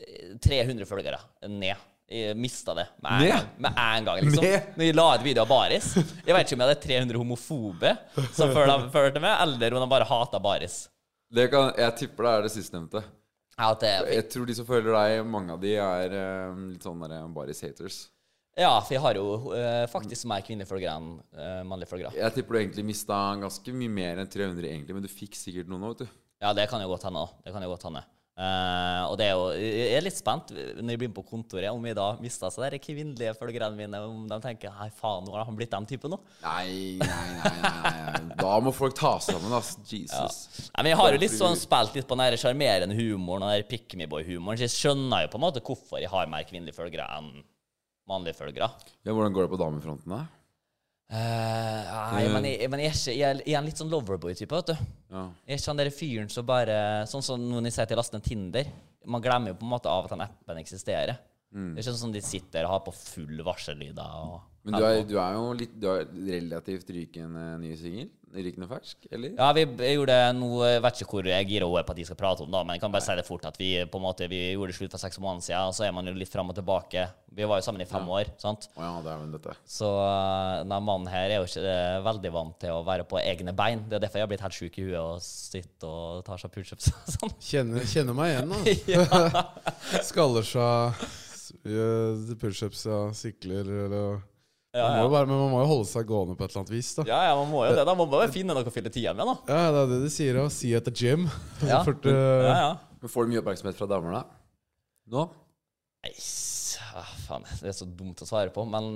E: Eh, 300 følgere ned. Jeg mista det med en,
C: Ned?
E: gang, med en gang, liksom.
C: Ned?
E: Når jeg la ut video av Baris. Jeg vet ikke om jeg hadde 300 homofobe som følte følte meg, eller om de bare hata Baris.
C: Det kan, jeg tipper det er det sistnevnte.
E: Ja, at det-
C: Jeg tror de som følger deg, mange av de er eh, litt sånn der, baris haters.
E: ja, for jeg har jo eh, faktisk mer kvinnelige følgere enn eh, mannlige følgere.
C: Jeg tipper du egentlig mista ganske mye mer enn 300 egentlig, men du fikk sikkert noe nå, vet du.
E: Ja, det kan jo godt hende. da. Det kan jo godt hende. Eh, og det er jo, jeg er litt spent når jeg blir med på kontoret, om jeg da mister seg de kvinnelige følgerne mine, om de tenker Hei, faen, nå har han blitt den typen nå.
C: Nei, nei, nei, nei, nei. Da må folk ta seg sammen, ass. Jesus.
E: Nei, men jeg har jo litt sånn spilt litt på den her sjarmerende humoren og den her pick me boy-humoren, så jeg skjønner jo på en måte hvorfor jeg har mer kvinnelige følgere enn mannlige følgere.
C: Ja, hvordan går det på damefronten, da?
E: Eh, nei, men jeg, men jeg er ikke Jeg er, jeg er en litt sånn loverboy-type, vet du.
C: Ja.
E: Jeg er ikke han der fyren som bare Sånn som når jeg sier at jeg laster ned Tinder. Man glemmer jo på en måte av at den appen eksisterer. Det er ikke sånn de sitter og har på full varsellyder og
C: Men du er, du er jo litt Du er relativt rykende eh, ny singel? Rykende fersk, eller?
E: Ja, vi b- gjorde noe Jeg vet ikke hvor jeg gira henne på at de skal prate om, da, men jeg kan bare si det fort at vi på en måte Vi gjorde det slutt for seks måneder siden, og så er man jo litt fram og tilbake. Vi var jo sammen i fem år, sant.
C: Å ja, det er vel dette.
E: Så øh, denne mannen her er jo ikke øh, veldig vant til å være på egne bein. Det er derfor jeg har blitt helt sjuk i huet og sitter og tar seg pushups og sånn.
D: Kjenner, kjenner meg igjen, da. Skaller seg, s- gjør pushups og sykler eller man må jo bare, Men man må jo holde seg gående på et eller annet vis, da. Ja,
E: Ja, ja, man må jo det. Da må man bare finne noe å fylle tida med, da.
D: det er det de sier òg. See you at the gym.
E: Ja.
D: Fort, eh,
E: Ja, ja.
C: Men får du mye oppmerksomhet fra damer, da? Nå?
E: Nei, s- ah, faen, det er så dumt å svare på, men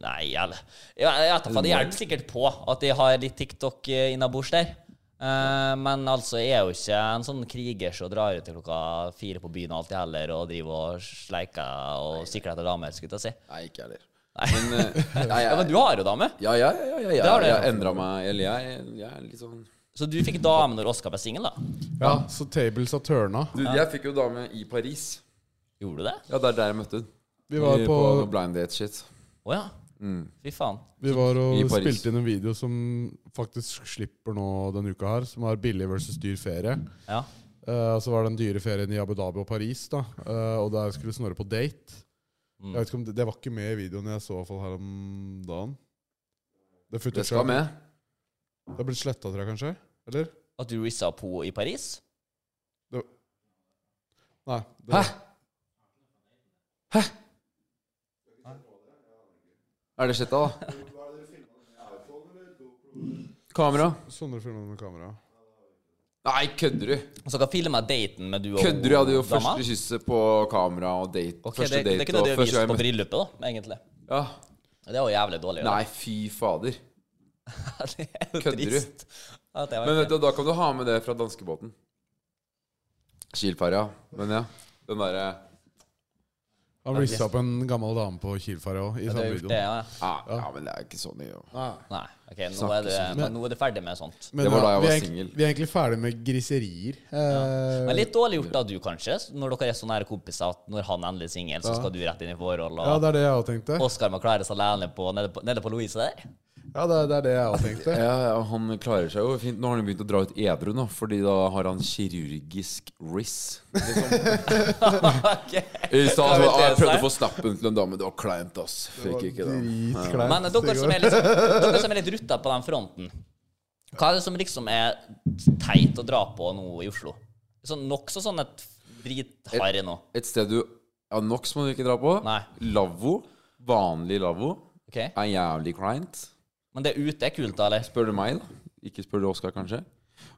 E: nei, jeg Jeg jeg vet da faen, det hjelper sikkert på at de har litt TikTok eh, innabords der. Eh, men altså, jeg er jo ikke en sånn kriger som drar ut til klokka fire på byen og alltid heller og driver og sleiker og sikler etter damer, skulle jeg til å si.
C: Nei, ikke jeg heller. Men, eh, nei,
E: Ja,
C: jeg,
E: men du har jo dame,
C: ja, ja, ja, ja, ja,
E: Det har
C: jeg,
E: du.
C: jeg endra meg. Eller jeg, jeg er litt sånn
E: så du fikk dame når Oskar ble singel, da?
D: ja, så tables har turna.
C: Du, jeg fikk jo dame i Paris.
E: Gjorde du det?
C: Ja, det er der jeg møtte henne.
D: Vi var
C: på,
D: på
C: noe blind date shit. Mm.
E: Å ja. Fy faen.
D: Vi
C: I
D: var og
C: Paris.
D: spilte inn en video som faktisk slipper nå denne uka her, som har billig versus dyr ferie.
E: Ja.
D: Eh, og så var det den dyre ferien i Abu Dhabi og Paris, da. Eh, og der skulle Snorre på date.
C: Mm.
D: Jeg vet ikke om det, det var ikke med i videoen jeg så i hvert fall her om dagen. Det,
C: Det skal
D: det
C: med.
D: har blitt sletta, tror jeg, kanskje? Eller?
E: At du rissa på i Paris?
D: Nei. Det, Hæ?
C: Er det sletta, da? Kamera?
D: Sondre filma med kamera.
C: Nei, kødder du?
E: Så dere filma daten med du og
C: Kødder du? Jeg hadde jo
E: dama?
C: første kysset på kamera og date.
E: Ok,
C: første
E: det, det er ikke
C: date og
E: det du har
C: første
E: vist
C: gang
E: på
C: jeg møtte
E: bryllupet, da, egentlig.
C: ja.
E: Det er jo jævlig dårlig.
C: Nei, fy fader. kødder du? Men
E: Men
C: vet du, da kan du ha med det fra danskebåten. Kielferja. Men ja, den derre
D: Han rissa på en gammel dame på Kielferja òg, i
E: det
D: samme
E: er gjort
D: video.
E: det, ja.
C: ah, Ja, men det er ikke så mye. å-
E: Nei, ok, nå
C: Snakker
E: er, det,
C: sånn.
E: men, nå er det ferdig med sånt.
D: Men
C: Det var da jeg
D: vi
C: var
D: er egentlig-
C: singel.
D: Vi er egentlig ferdig med griserier. Eh,
E: Men litt dårlig gjort av du, kanskje, når dere er så nære kompiser at når han endelig er singel, så skal du rett inn i forhold,
D: ja,
E: og
D: det er det jeg òg tenkte.
E: Oskar må klare seg alene på, nede, på, nede på Louise der.
D: Ja, det er det, er det jeg òg tenkte.
C: Ja, ja, han klarer seg jo fint. Nå har han begynt å dra ut edru, nå, fordi da har han kirurgisk riss. I stad så- ah, jeg prøvde å få snappen til en dame. Det var kleint, ass. Fikk ikke den.
D: Dritkleint.
E: Men dere som er, liksom, dere som er litt rutta på den fronten, hva er det som liksom er teit å dra på nå i Oslo? Sånn Nokså sånn et dritharry nå.
C: Et sted du ja, Nox må du ikke dra på.
E: Nei.
C: Lavvo. Vanlig lavvo.
E: ok?
C: Er jævlig kleint.
E: Men det ute er kult, da, eller?
C: Spør du meg, da. Ikke spør du Oskar, kanskje.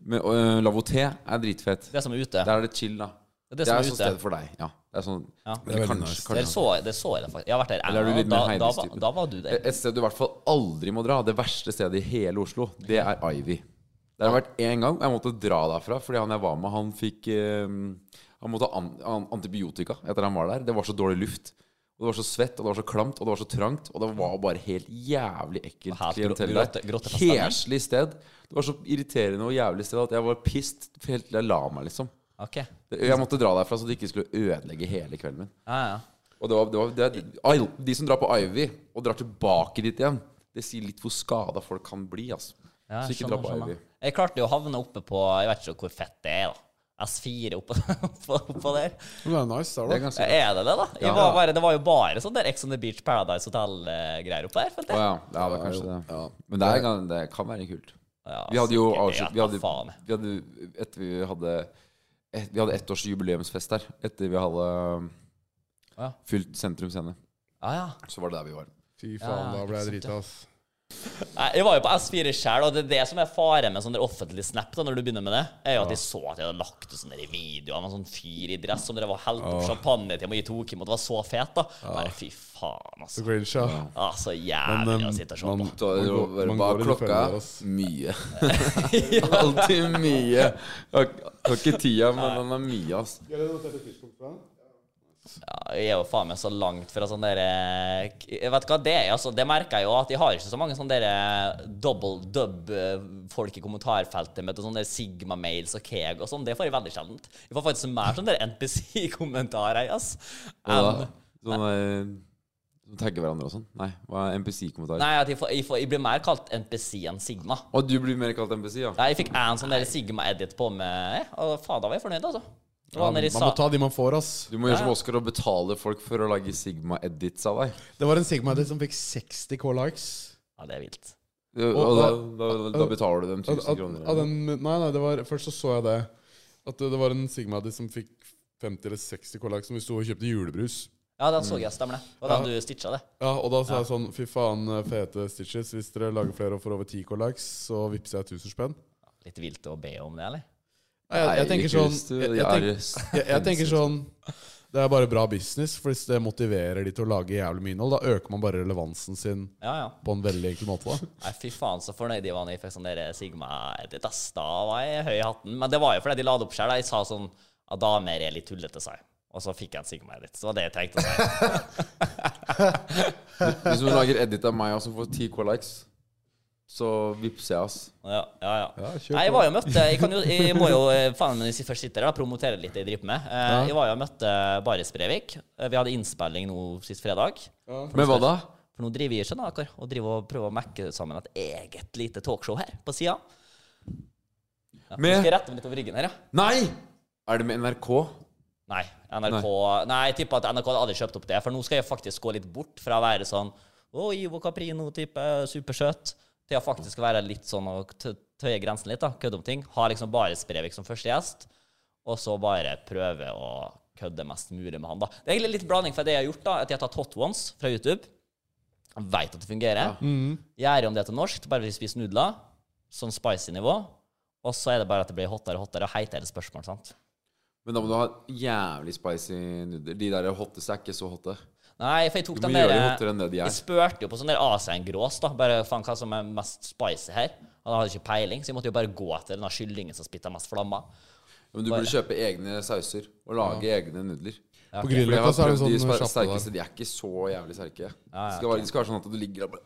C: Men øh, lavvoté er dritfett.
E: Det som er ute.
C: Der er det chill, da.
E: Det er
C: Det
E: det som
C: er
E: er
C: sånn
E: ute.
C: sted for deg. Ja. Det er sånn Men
E: Ja.
D: er veldig
C: kanskje,
D: nice.
E: Det
C: kanskje.
E: så, det så jeg det faktisk. Jeg har vært der.
C: Eller er du litt
E: da,
C: mer Eh,
E: da, var-
C: Heidis-typen?
E: da var du der.
C: Et sted du i hvert fall aldri må dra, det verste stedet i hele Oslo, det er Ivy. Det har vært én gang, og jeg måtte dra derfra fordi han jeg var med, han fikk eh, Han måtte ha an, an, antibiotika etter han var der. Det var så dårlig luft. Og det var så svett, og det var så klamt, og det var så trangt. Og det var bare helt jævlig ekkelt
E: Helt gro-
C: klientell
E: grotte-
C: der.
E: grottefeststemning.
C: Heslig sted. Det var så irriterende og jævlig sted at jeg var pissed helt til jeg la meg, liksom.
E: Ok. Ja,
C: Jeg måtte dra derfra så det ikke skulle ødelegge hele kvelden min.
E: ja.
C: Og det var, det var, det er, Ai- de som drar på Ivy og drar tilbake dit igjen, det sier litt hvor skada folk kan bli. Altså.
E: ja
C: så ikke dra på Ivy.
E: Jeg klarte jo å havne oppe på Jeg vet ikke hvor fett det er, da. S4 oppå oppå- oppå der.
D: Men det er nice, der, da.
C: Det er ganske
E: Er det det, da? Jeg var bare, det var jo bare sånn der Ex on the Beach Paradise eh, Hotel-greier oppå der,
C: Å
E: følte jeg.
C: ja. ja, det er kanskje det. Men det, er, gan- det kan være kult.
E: Ja,
C: Vi hadde jo
E: sikkert,
C: avslutt
E: jeg
C: Vi
E: vet da
C: hadde,
E: faen.
C: vi hadde, etter vi hadde et, Vi hadde ett års jubileumsfest der etter vi hadde um,
E: Ja.
C: fylt Sentrum Scene.
E: Ja, ja.
C: Så var det der vi var.
D: Fy faen,
E: Ja,
D: da ble jeg
E: ikke sant,
D: drita, ass.
E: Nei, Jeg var jo på S4 sjøl, og det er det som er fare med sånn der offentlig snap. da, når du begynner med det, er jo at de så at jeg hadde lagt ut sånne der videoer med en sånn fyr i dress som drev og helte opp champagne til meg i Tokim, og det var så fet, da. Bare fy
D: Så
E: faen, altså.
D: cringe, ja.
E: Ah, så jævlig
D: Men, um,
E: å sitte og se på.
D: man-
C: Så det var
D: går-
C: bare
D: man går
C: bak
D: i de
C: klokka
D: følgene, ass.
C: mye. Alltid mye. Jeg har jeg har ikke tida, men den er mye, ass.
E: Ja, jeg er jo faen meg så langt fra sånn derre Jeg vet hva det er, altså. Det merker jeg jo, at jeg har ikke så mange sånne derre double dub-folk i kommentarfeltet med sånne der Sigma-mails og Keg og sånn. Det får jeg veldig sjeldent. Jeg får faktisk mer sånne der NPC-kommentarer, ass.
C: Hva da?
E: enn-
C: Sånn der, som tagger hverandre og sånn? Nei, hva er MPC-kommentar?
E: Nei, at jeg, får, jeg, får, jeg blir mer kalt NPC enn Sigma.
C: Og du blir mer kalt MPC, ja?
E: Nei, jeg fikk en sånn der Sigma-edit på meg, og faen, da var jeg fornøyd, altså. Det var når jeg
D: Man må
E: sa
D: ta de man får, ass.
C: Du må gjøre som Oscar og betale folk for å lage Sigma-edits av deg.
D: Det var en Sigma-edit som fikk 60 K likes.
E: Ja, det er vilt.
C: Og, da, da, da betaler du dem
D: Av,
C: 1000
D: av,
C: kroner.
D: av
C: eller
D: den, nei, nei, det var, først så så jeg det. At det, det var en Sigma-edit som fikk 50 eller 60 K likes, som vi sto og kjøpte julebrus.
E: Ja, den så jeg, stemmer det. Det var den du stitcha, det.
D: Ja, og da sa jeg sånn Fy faen, fete stitches. Hvis dere lager flere og får over 10 K likes, så vippser jeg 1000 spenn.
E: Litt vilt å be om det, eller?
D: Nei, jeg, jeg
C: Nei,
D: tenker
C: ikke
D: sånn
C: hvis du-
D: jeg, jeg,
C: jeg er-
D: tenker, jeg, jeg tenker sånn Det er bare bra business, for hvis det motiverer de til å lage jævlig mye innhold, da øker man bare relevansen sin
E: Ja, ja.
D: på en veldig enkel måte. da
E: Nei, fy faen så fornøyd jeg var når jeg fikk sånn der Sigma-edit, ass. Da var jeg høy i hatten. Men det var jo fordi de la det opp sjøl. Jeg sa sånn at damer er litt tullete, sa jeg. Og så fikk jeg en Sigma-edit. Så det var det jeg tenkte å si.
D: sånn-
C: Hvis du lager edit av meg og så får 10K likes, så vippser jeg, ass.
E: Ja, ja, ja.
D: Ja, kjør
E: Nei,
D: på.
E: jeg var jo og møtte Jeg, kan jo, jeg må jo eh, faen men hvis jeg først sitter her, da, promotere litt det jeg driver med. Eh, Jeg var jo og møtte Baris Brevik. Eh, Vi hadde innspilling nå sist fredag.
C: Men hva da?
E: For nå driver jeg ikke da, akkurat, og driver og prøver å mekke sammen et eget lite talkshow her på sida. Ja, nå
C: Med-
E: skal jeg rette meg litt over ryggen her, ja.
C: Nei! Er det med NRK?
E: Nei, NRK Nei, jeg tipper at NRK hadde aldri kjøpt opp det. For nå skal jeg faktisk gå litt bort fra å være sånn Å, Ivo Caprino-type, supersøt, til å faktisk være litt sånn og t- tøye grensen litt, da. Kødde om ting. Ha liksom bare Sprevik som første gjest, og så bare prøve å kødde mest mulig med han, da. Det er egentlig litt blanding fra det jeg har gjort, da. At jeg har tatt Hot Ones fra YouTube. Jeg Veit at det fungerer. Gjør om det til norsk, bare hvis vi spiser nudler. Sånn spicy nivå. Og så er det bare at det blir hottere og hottere og heitere spørsmål, sant.
C: Men da må du ha jævlig spicy nudler. De der hotteste er ikke så hotte.
E: Nei, for jeg tok
C: Du
E: den
C: må gjøre det
E: der eh,
C: hottere enn det de
E: Jeg
C: er.
E: spurte jo på sånn der Asian-grås, da. Bare faen hva som er mest spicy her. Han hadde ikke peiling, så jeg måtte jo bare gå etter denne kyllingen som spytta mest flammer.
C: Men du burde kjøpe egne sauser og lage egne nudler.
D: På
C: For jeg
D: grillrekka
C: har
D: så er det
C: prøvd
D: en
C: de
D: sånn
C: spa-
D: kjappe der.
C: sterkeste. De er ikke så jævlig sterke. Det skal, være, det skal være sånn at du ligger der og bare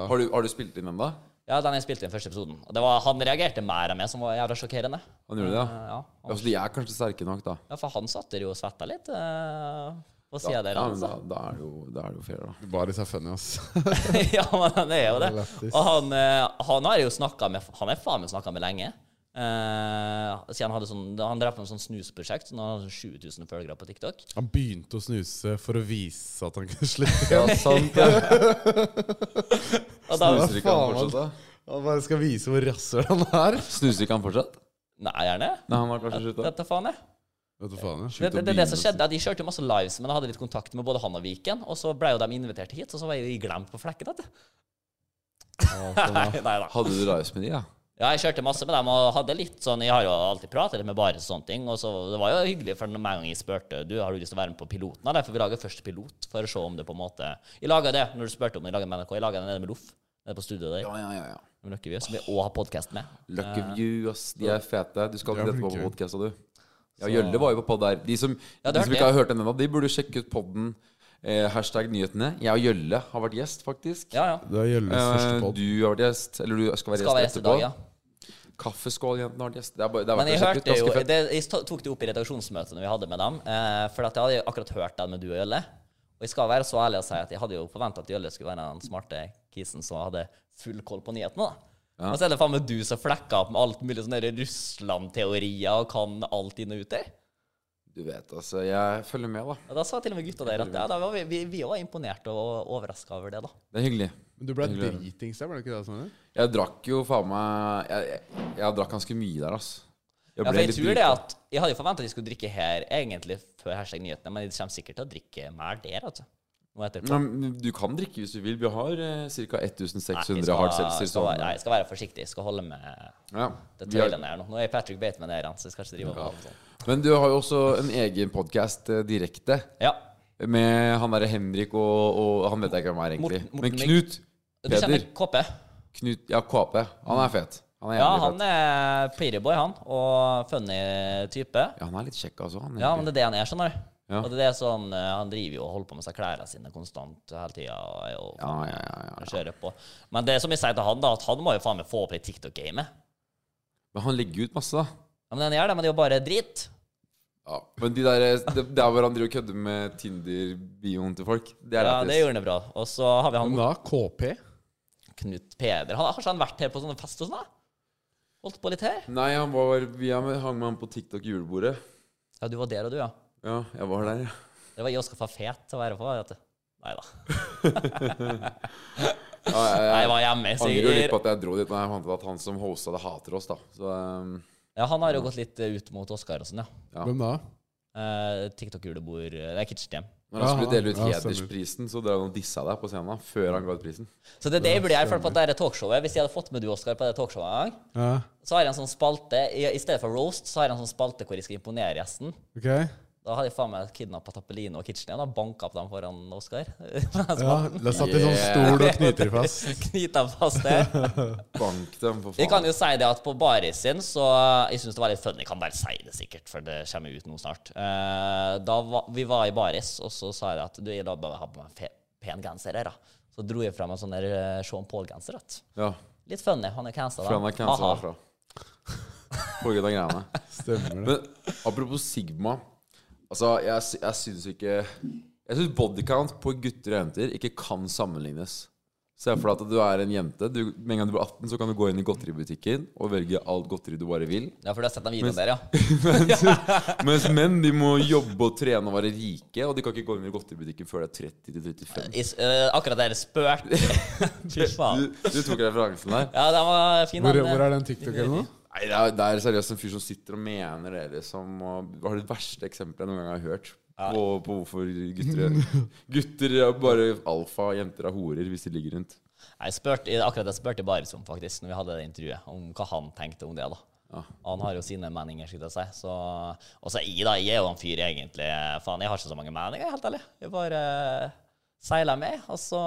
C: «Åh!» har, du, har du spilt inn den, da?
E: Ja, den jeg spilte i den første episoden. Og det var, han reagerte mer enn meg, som var jævla sjokkerende.
C: Han gjorde det, ja?
E: Eh, Ja,
C: ja så de er kanskje sterke nok, da.
E: ja for han satt der jo og svetta litt. eh, På sida der,
C: Ja, men da,
E: altså.
C: da, er det jo, da er det jo fair, da.
D: Baris er funny, ass.
E: ja, men han er jo det.
D: Lættis.
E: Og han, eh, han har jo snakka med Han er faen meg snakka med lenge. Eh, siden han hadde sånn Han drev på med sånn snusprosjekt, så nå har han sånn 7000 følgere på TikTok.
D: Han begynte å snuse for å vise at han kunne slippe.
C: Ja, sant det.
E: Og da,
C: Snuser ikke han fortsatt, da?
D: Han bare skal vise hvor rasshøl han er.
C: altså? Snuser ikke han fortsatt?
E: Nei, gjerne.
C: Nei, han har kanskje slutta.
E: Dette faen jeg.
D: Vet du faen, jeg.
E: Det,
C: Slutt å
E: det, det, er det som
C: begynne å
E: skjedde, De kjørte jo masse lives, men jeg hadde litt kontakt med både han og Viken. Og så ble jo de invitert hit, og så var jeg jo glemt på flekken. Vet du. Nei, nei da.
C: Hadde du lives med de, ja?
E: Ja, jeg kjørte masse med dem og hadde litt sånn Jeg har jo alltid pratet litt med bare sånne ting. Og så Det var jo hyggelig, for med en gang jeg spurte Du har du lyst til å være med på piloten. Eller? For vi lager først pilot, for å se om det på en måte Jeg laga det når du spurte om jeg laget med NRK. Jeg laga det nede med Loff. Nede på studioet der.
C: Ja, ja, ja. ja.
E: med Løkkeby, Som vi òg har podkast med.
C: Lucky View, ass. De er fete. Du skal
D: De er
C: til dette på
D: flinke.
C: podkast, og du. Ja, Gjølle var jo på pod der. De som,
E: Ja, det
C: de som
E: hørte
C: ikke har
E: jeg.
C: hørt den ennå, de burde sjekke ut podden eh, hashtag nyhetene. Jeg og Gjølle har vært gjest, faktisk.
E: Ja, ja.
D: Det er Gjølles første
C: Eh,
D: pod.
C: du har vært gjest, eller du skal være
E: Skal være
C: gjest
E: gjest i
C: etterpå.
E: dag, ja.
C: Kaffeskåljentene har vært gjest. Det er, bare, det er
E: Men
C: verdt å
E: jeg
C: sjekke ut.
E: hørte jo
C: Ganske fett.
E: det, Jeg to- tok det opp i redaksjonsmøtet når vi hadde med dem. Eh, for at jeg hadde jo akkurat hørt den med du og Jølle. Og jeg skal være så ærlig og si at jeg hadde jo forventa at Jølle skulle være den smarte kisen som hadde full koll på nyhetene. da Og så er det faen meg du som flekker opp med alt mulig sånne der Russland-teorier og kan alt inn og ut der.
C: Du vet, altså. Jeg følger med, da.
E: Og da sa til og med gutta der at ja, da var vi, vi, vi var imponert og overraska over det, da.
C: Det er hyggelig.
D: Men du ble dritings der, ble du ikke det? Sånn,
C: Jeg drakk jo faen meg Jeg, jeg, jeg drakk ganske mye der, ass. Jeg
E: Ja, for
C: ble
E: jeg
C: litt
E: tror det
C: drita.
E: at Jeg hadde jo forventa at de skulle drikke her egentlig før hashtag nyhetene, men de kommer sikkert til å drikke mer der, altså. Nå etterpå.
C: Ja, men Du kan drikke hvis du vil. Vi har eh, ca. 1600
E: skal-
C: hard seltzer.
E: skal være-
C: stående.
E: Nei, jeg skal være forsiktig. Jeg skal holde med eh,
C: Ja.
E: det
C: Vi har-
E: tøylene her nå. Nå er Patrick Bateman her, han, så jeg skal ikke drive og sånn.
C: Men du har jo også en egen podkast direkte
E: Ja.
C: med han derre Henrik og, og Han vet jeg ikke hvem er, egentlig.
E: Morten- Morten
C: Men Knut.
E: Du kjenner
C: Peder.
E: KP?
C: Knut ja, KP. Han er fet. Han er
E: sånn Ja,
C: jævlig
E: han
C: fet.
E: er playboy, han. Og funny type.
C: Ja, han er litt kjekk, altså. Han,
E: Ja, men det er det han er, skjønner du.
C: Ja.
E: Og det er det som eh, Han driver jo og holder på med seg klærne sine konstant hele tida. Og, er jo-
C: ja, ja, ja, ja.
E: kjører på. Men det er som jeg sier til han, da, at han må jo faen meg få opp det TikTok-gamet.
C: Men han legger ut masse, da.
E: Ja, men han gjør det, men det er jo bare drit.
C: Ja. Men de der, det, det er hvor han driver og kødder med Tinder-bioen til folk. Det er
E: Ja,
C: lættis.
E: det gjorde han bra. Og så har vi han
D: Da, KP.
E: Knut Peder. Han, har ikke han vært her på sånne fest og sånn? da? Holdt på litt her?
C: Nei, han var, vi hang med han på TikTok julebordet.
E: Ja, du var der, og du, ja.
C: Ja, jeg var der, ja.
E: Det var jeg også for fet å være på. vet du. Nei da.
C: ja jeg,
E: Nei, jeg
C: jeg,
E: var hjemme.
C: jeg angrer jo litt
E: Sier.
C: på at jeg dro dit, men jeg fant ut at han som hosta det, hater oss, da. Så ehm,
E: Ja, han har jo gått litt eh, ut mot Oskar og sånn, ja.
C: Ja.
D: Hvem da?
E: Eh, TikTok-julebord eh, Det er Kitchen
C: når han
D: Ja,
C: skulle dele ut
D: ja, stemmer.
C: hedersprisen, så drev han og dissa deg på scenen da, før han ga ut prisen.
E: Så det er det jeg burde gjøre for på dette talkshowet. Hvis jeg hadde fått med du, Oskar, på det talkshowet en gang,
D: Ja,
E: så har jeg en sånn spalte I, i stedet for roast, så har jeg en sånn spalte hvor jeg skal imponere gjesten.
D: ok. Ja,
E: Da hadde jeg faen meg kidnappa Tappelino og Kitchen igjen og banka opp dem foran Oskar. Ja.
D: La satt i sånn stol og knyter de fast.
E: Knyta dem fast der.
C: Bank dem, for
E: Vi kan
C: faen.
E: jo si det at på barisen, så Jeg syns det var litt funny. Jeg kan bare si det sikkert, for det kommer ut nå snart. Eh, da va, vi var i baris, og så sa jeg det at du, jeg da bare har på meg en fe- pen genser her, da. Så dro jeg fram en sånn der eh, Sean Paul-genser. vet du.
C: Ja,
E: Litt funny. Han er cancela.
C: for han er cancela
E: Aha.
C: herfra. På grunn av greiene.
D: Stemmer det.
C: Men apropos Sigma Altså, jeg, sy- jeg syns ikke Jeg syns bodycount på gutter og jenter ikke kan sammenlignes. Se for deg at du er en jente. Du, med en gang du blir 18, så kan du gå inn i godteributikken og velge alt godteri du bare vil.
E: Ja, for du har sett den videoen der, ja.
C: Mens menn de må jobbe og trene og være rike, og de kan ikke gå inn i godteributikken før det er 30-35.
E: I, s- eh, akkurat der er spøk. Fy
C: Du,
E: faen.
C: du tok referansen der.
E: Ja, den var fin.
D: Hvor,
E: den. eh.
D: hvor er den TikToken nå?
C: Nei, det er, det er seriøst en fyr som sitter og mener det, liksom. Og det var det verste eksempelet jeg noen gang har hørt. På, på hvorfor gutter, gutter er bare alfa, jenter er horer hvis de ligger rundt.
E: Jeg spurte, akkurat jeg spurte Baris om, faktisk, når vi hadde det intervjuet, om hva han tenkte om det. da. Han har jo sine meninger, skulle jeg si. Så, og så er jeg, da. Jeg er jo en fyr, egentlig. Faen, jeg har ikke så mange meninger, helt ærlig. Jeg bare eh, seiler med. Og så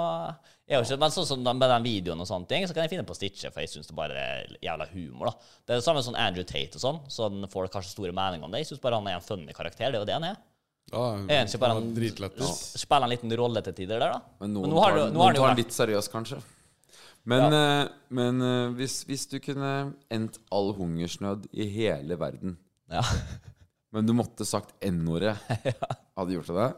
E: jeg er jo ikke, Men sånn som den- med den videoen og sånne ting, så kan jeg finne på å stitche, for jeg syns det bare er jævla humor, da. Det er det samme som Andrew Tate og sånn. Sånn Folk har så store meninger om det. Jeg syns bare han er en funny karakter. Det er jo det han er.
D: Ja,
E: Jeg er ikke bare han
D: dritlættis.
E: spiller en liten rolle til tider der, da.
C: Men noen,
E: nå har
C: tar,
E: du-
C: den-
E: nå har
C: noen
E: han jo
C: tar
E: vært-
C: den litt seriøst, kanskje. Men, eh, men eh, hvis, hvis du kunne endt all hungersnød i hele verden,
E: Ja.
C: men du måtte sagt N-ordet, hadde du gjort det?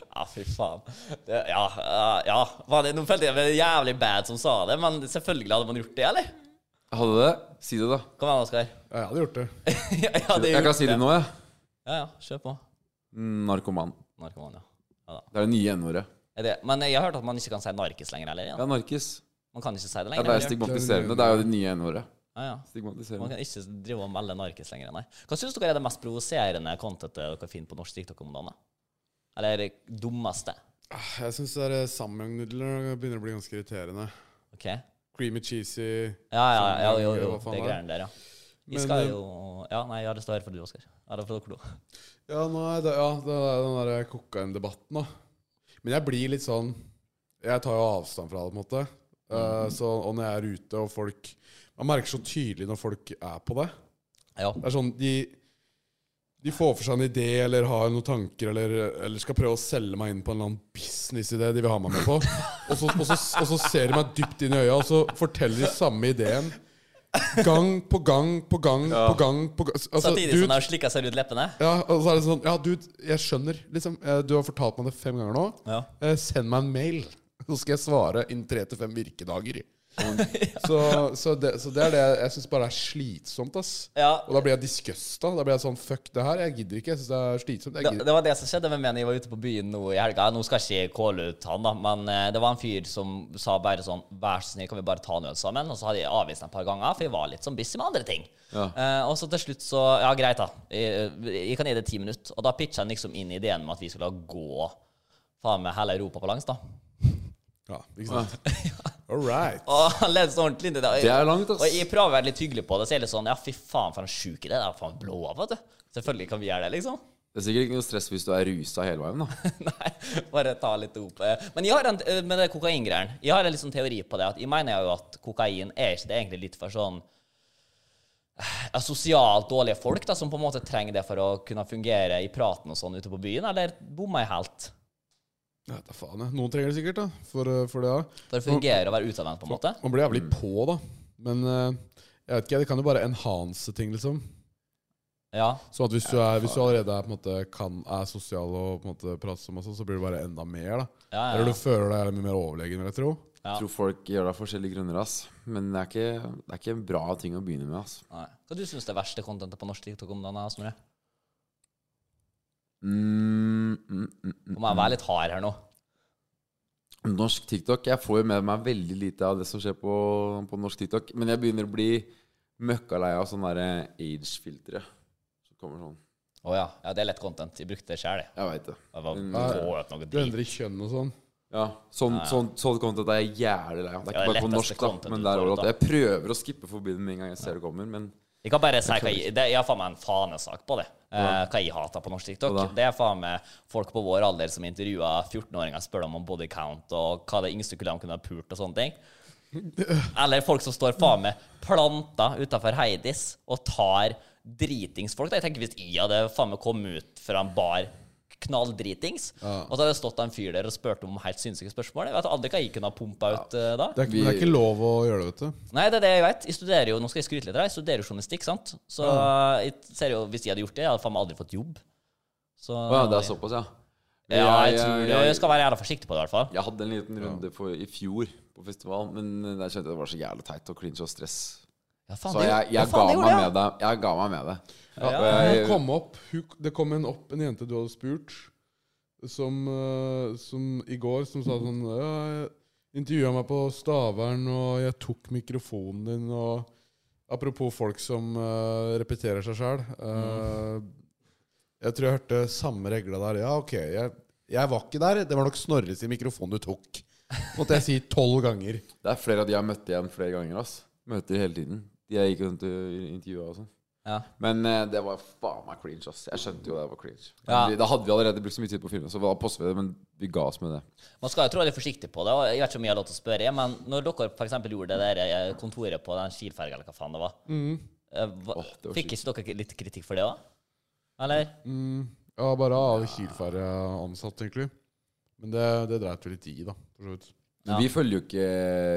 E: Ja, fy faen. Det, ja, ja, ja. Faen, Nå følte jeg meg jævlig bad som sa det, men selvfølgelig hadde man gjort det, eller?
C: Hadde det? Si det, da.
E: Kom igjen, Oskar.
D: Ja, jeg hadde gjort det.
E: ja, ja, det
C: Jeg kan si det nå, jeg.
E: Ja, ja, kjør på.
C: Narkoman.
E: Narkoman, ja.
C: Det er det nye N-ordet.
E: Er det, men jeg har hørt at man ikke kan si narkis lenger heller.
C: Det
E: Ja.
C: er narkis.
E: Man kan ikke si det
C: Ja,
E: lenger.
C: det er
E: eller?
C: stigmatiserende. Det er jo det nye N-ordet.
E: Ja, ja. Man
C: Stigmatiserende.
E: kan ikke drive og melde narkis lenger, nei. Hva syns dere er det mest provoserende contentet dere finner på norsk TikTok om dagen? da? Eller det dummeste?
D: Jeg syns samyang-nudler begynner å bli ganske irriterende.
E: OK? Ja,
D: Creamy cheesy
E: ja, ja, jo, jo,
D: Hva faen er
E: det
D: det?
E: greiene der, ja. Vi
D: Men,
E: skal
D: eh,
E: jo Ja, nei, ja, det står her for du, Oskar. Ja, det er for dere to.
D: Ja, nei, det, ja, det er den der kokaindebatten, da. Men jeg blir litt sånn Jeg tar jo avstand fra det, på en måte. Eh, så, og når jeg er ute, og folk Man merker så tydelig når folk er på det.
E: Ja.
D: Det er sånn De, de får for seg en idé eller har noen tanker eller, eller skal prøve å selge meg inn på en eller annen businessidé de vil ha meg med på. Og så, og, så, og så ser de meg dypt inn i øya, og så forteller de samme ideen. Gang på gang på gang på gang. på gang altså,
E: Samtidig
D: dude,
E: som de har slikka seg rundt leppene.
D: ja, og så er det sånn Ja, du, jeg skjønner. Liksom, eh, du har fortalt meg det fem ganger nå.
E: Ja.
D: Eh, Send meg en mail, så skal jeg svare innen tre til fem virkedager. Så, så, det, så det er det jeg syns bare er slitsomt, ass.
E: Ja.
D: Og da blir jeg disgusta. Da blir jeg sånn Fuck det her, jeg gidder ikke. Jeg syns det er slitsomt. Jeg
E: Det,
D: gidder.
E: det var det som skjedde med meg når jeg var ute på byen nå i helga. Nå skal jeg ikke kåle ut han, da, men eh, det var en fyr som sa bare sånn Vær så snill, kan vi bare ta en øl sammen? Og så hadde jeg avvist ham et par ganger, for jeg var litt sånn busy med andre ting. Eh, og så til slutt så Ja, greit, da. Jeg, eh, jeg kan gi det ti minutter. Og da pitcha han liksom inn ideen med at vi skulle gå faen meg hele Europa på langs, da.
D: Ja, ikke sant? All right.
E: Og han led så ordentlig inn i det.
C: Det er langt, ass.
E: Og jeg prøver å være litt hyggelig på det, så jeg er litt sånn Ja, fy faen, for en sjuk idé. Det er faen blå av, vet du. Selvfølgelig kan vi gjøre det, liksom.
C: Det er sikkert ikke noe stress hvis du er rusa hele veien, da.
E: Nei, bare ta litt opp. Eh, Men jeg har en, med det kokaingreiene Jeg har en litt sånn teori på det. At jeg mener jo at kokain er ikke det er egentlig litt for sånn eh, sosialt dårlige folk da, som på en måte trenger det for å kunne fungere i praten og sånn ute på byen, eller bommer jeg helt?
D: Ja, da faen, jeg. Noen trenger det sikkert, da. For, eh, for det, ja.
E: For å fungere og være utadvendt, på en måte?
D: Man blir
E: Mm.
D: jævlig på, da. Men eh, jeg vet ikke, det kan jo bare enhance ting, liksom.
E: Ja.
D: Sånn at hvis du, er, hvis du allerede er, på en måte, kan, er sosial og på en måte, pratsom, og sånn, så blir du bare enda mer. da.
E: Ja, ja,
D: Eller
E: ja.
D: du føler deg mye mer overlegen, vil jeg tro.
E: Ja.
C: Jeg tror folk gjør det av forskjellige grunner, ass. Men det er ikke, det er ikke en bra ting å begynne med, ass.
E: Nei. Hva du syns det verste contentet på norsk TikTok om dagen er, Snorre?
C: Mm, mm, mm, mm.
E: Nå må jeg være litt hard her nå.
C: Norsk TikTok Jeg får jo med meg veldig lite av det som skjer på, på norsk TikTok. Men jeg begynner å bli møkkalei av sånne der age-filtre. Som kommer sånn.
E: Å ja. ja. Det er lett content. Jeg brukte det sjæl, jeg.
C: Jeg veit det.
E: Jeg var
C: Mm.
E: få ut
D: Du
E: noe drit.
D: endrer kjønn og sånn.
C: Ja, Sånn, sånn, sånn content er jeg jævlig lei av. Det er ikke
E: Ja, det
C: bare
E: er
C: på
E: letteste
C: norsk, da,
E: content
C: men
E: du
C: det er
E: får ut
C: overalt.
E: av.
C: Jeg prøver å skippe forbi det med en gang jeg ser det kommer, men
E: Jeg kan bare si hva jeg, det, jeg har faen meg en fanesak på det. Eh, hva jeg hater på norsk TikTok.
C: Hva da?
E: Det er faen meg folk på vår alder som intervjuer 14-åringer, spør dem om body count og hva det yngste kunne de kunne ha pult og sånne ting. Eller folk som står faen meg planta utafor Heidis og tar dritingsfolk. Jeg tenker hvis jeg hadde faen meg kommet ut fra en bar knalldritings, og så hadde det stått en fyr der og spurt om helt sinnssyke spørsmål Jeg vet aldri hva jeg kunne ha pumpa ut eh, da.
D: Det er, ikke- det er ikke lov å gjøre det, vet du.
E: Nei, det er det jeg vet. Jeg studerer jo, nå skal jeg skryte litt her, jeg studerer jo journalistikk, sant? Så jeg ser jo, hvis jeg hadde gjort det, jeg hadde faen meg aldri fått jobb. Så,
C: Å ja, det er såpass, ja.
E: Ja, jeg tror du
C: jeg- eh,
E: skal være jævla forsiktig på det, i hvert fall.
C: Jeg hadde en liten runde for, i fjor på festival, men eh, der skjønte jeg det var så jævlig teit å clinche og stress.
E: Ja, faen,
C: Så
E: det-
C: jeg,
E: ja,
C: jeg, ga
E: faen,
C: meg
E: det gjorde jeg.
C: med det. Jeg ga meg med det.
E: Ja.
C: Og jeg-
D: Hun kom opp, hun, det kom en opp, en jente du hadde spurt, som, eh, som i går, som sa sånn ja, jeg intervjua meg på Stavern, og jeg tok mikrofonen din, og Apropos folk som eh, repeterer seg sjøl. Jeg tror jeg hørte samme regla der. Ja, ok, jeg, jeg var ikke der. Det var nok Snorre sin mikrofon du tok. Måtte jeg si tolv ganger.
C: Det er flere av de jeg har møtt igjen flere ganger. Ass. Møter hele tiden. De jeg gikk rundt og intervjua og sånn.
E: Ja.
C: Men eh, det var faen meg cringe, ass. Jeg skjønte jo det var cringe.
E: Ja.
C: Vi- Da hadde vi allerede brukt så mye tid på filmen, så da posta vi det, men vi ga oss med det.
E: Man skal jo trå litt forsiktig på det, og jeg vet ikke om jeg har lov til å spørre, men når dere for eksempel gjorde det der eh, kontoret på den skilfergen, eller hva faen det var, eh, hva,
C: Mm. Åh, det var Mm.
E: fikk ikke dere litt kritikk for det også? Eller?
D: Ja, bare av Kielferja ansatt, egentlig. Men det, det dreit vi litt i, da. For så vidt.
C: Men
E: Ja.
C: vi følger jo ikke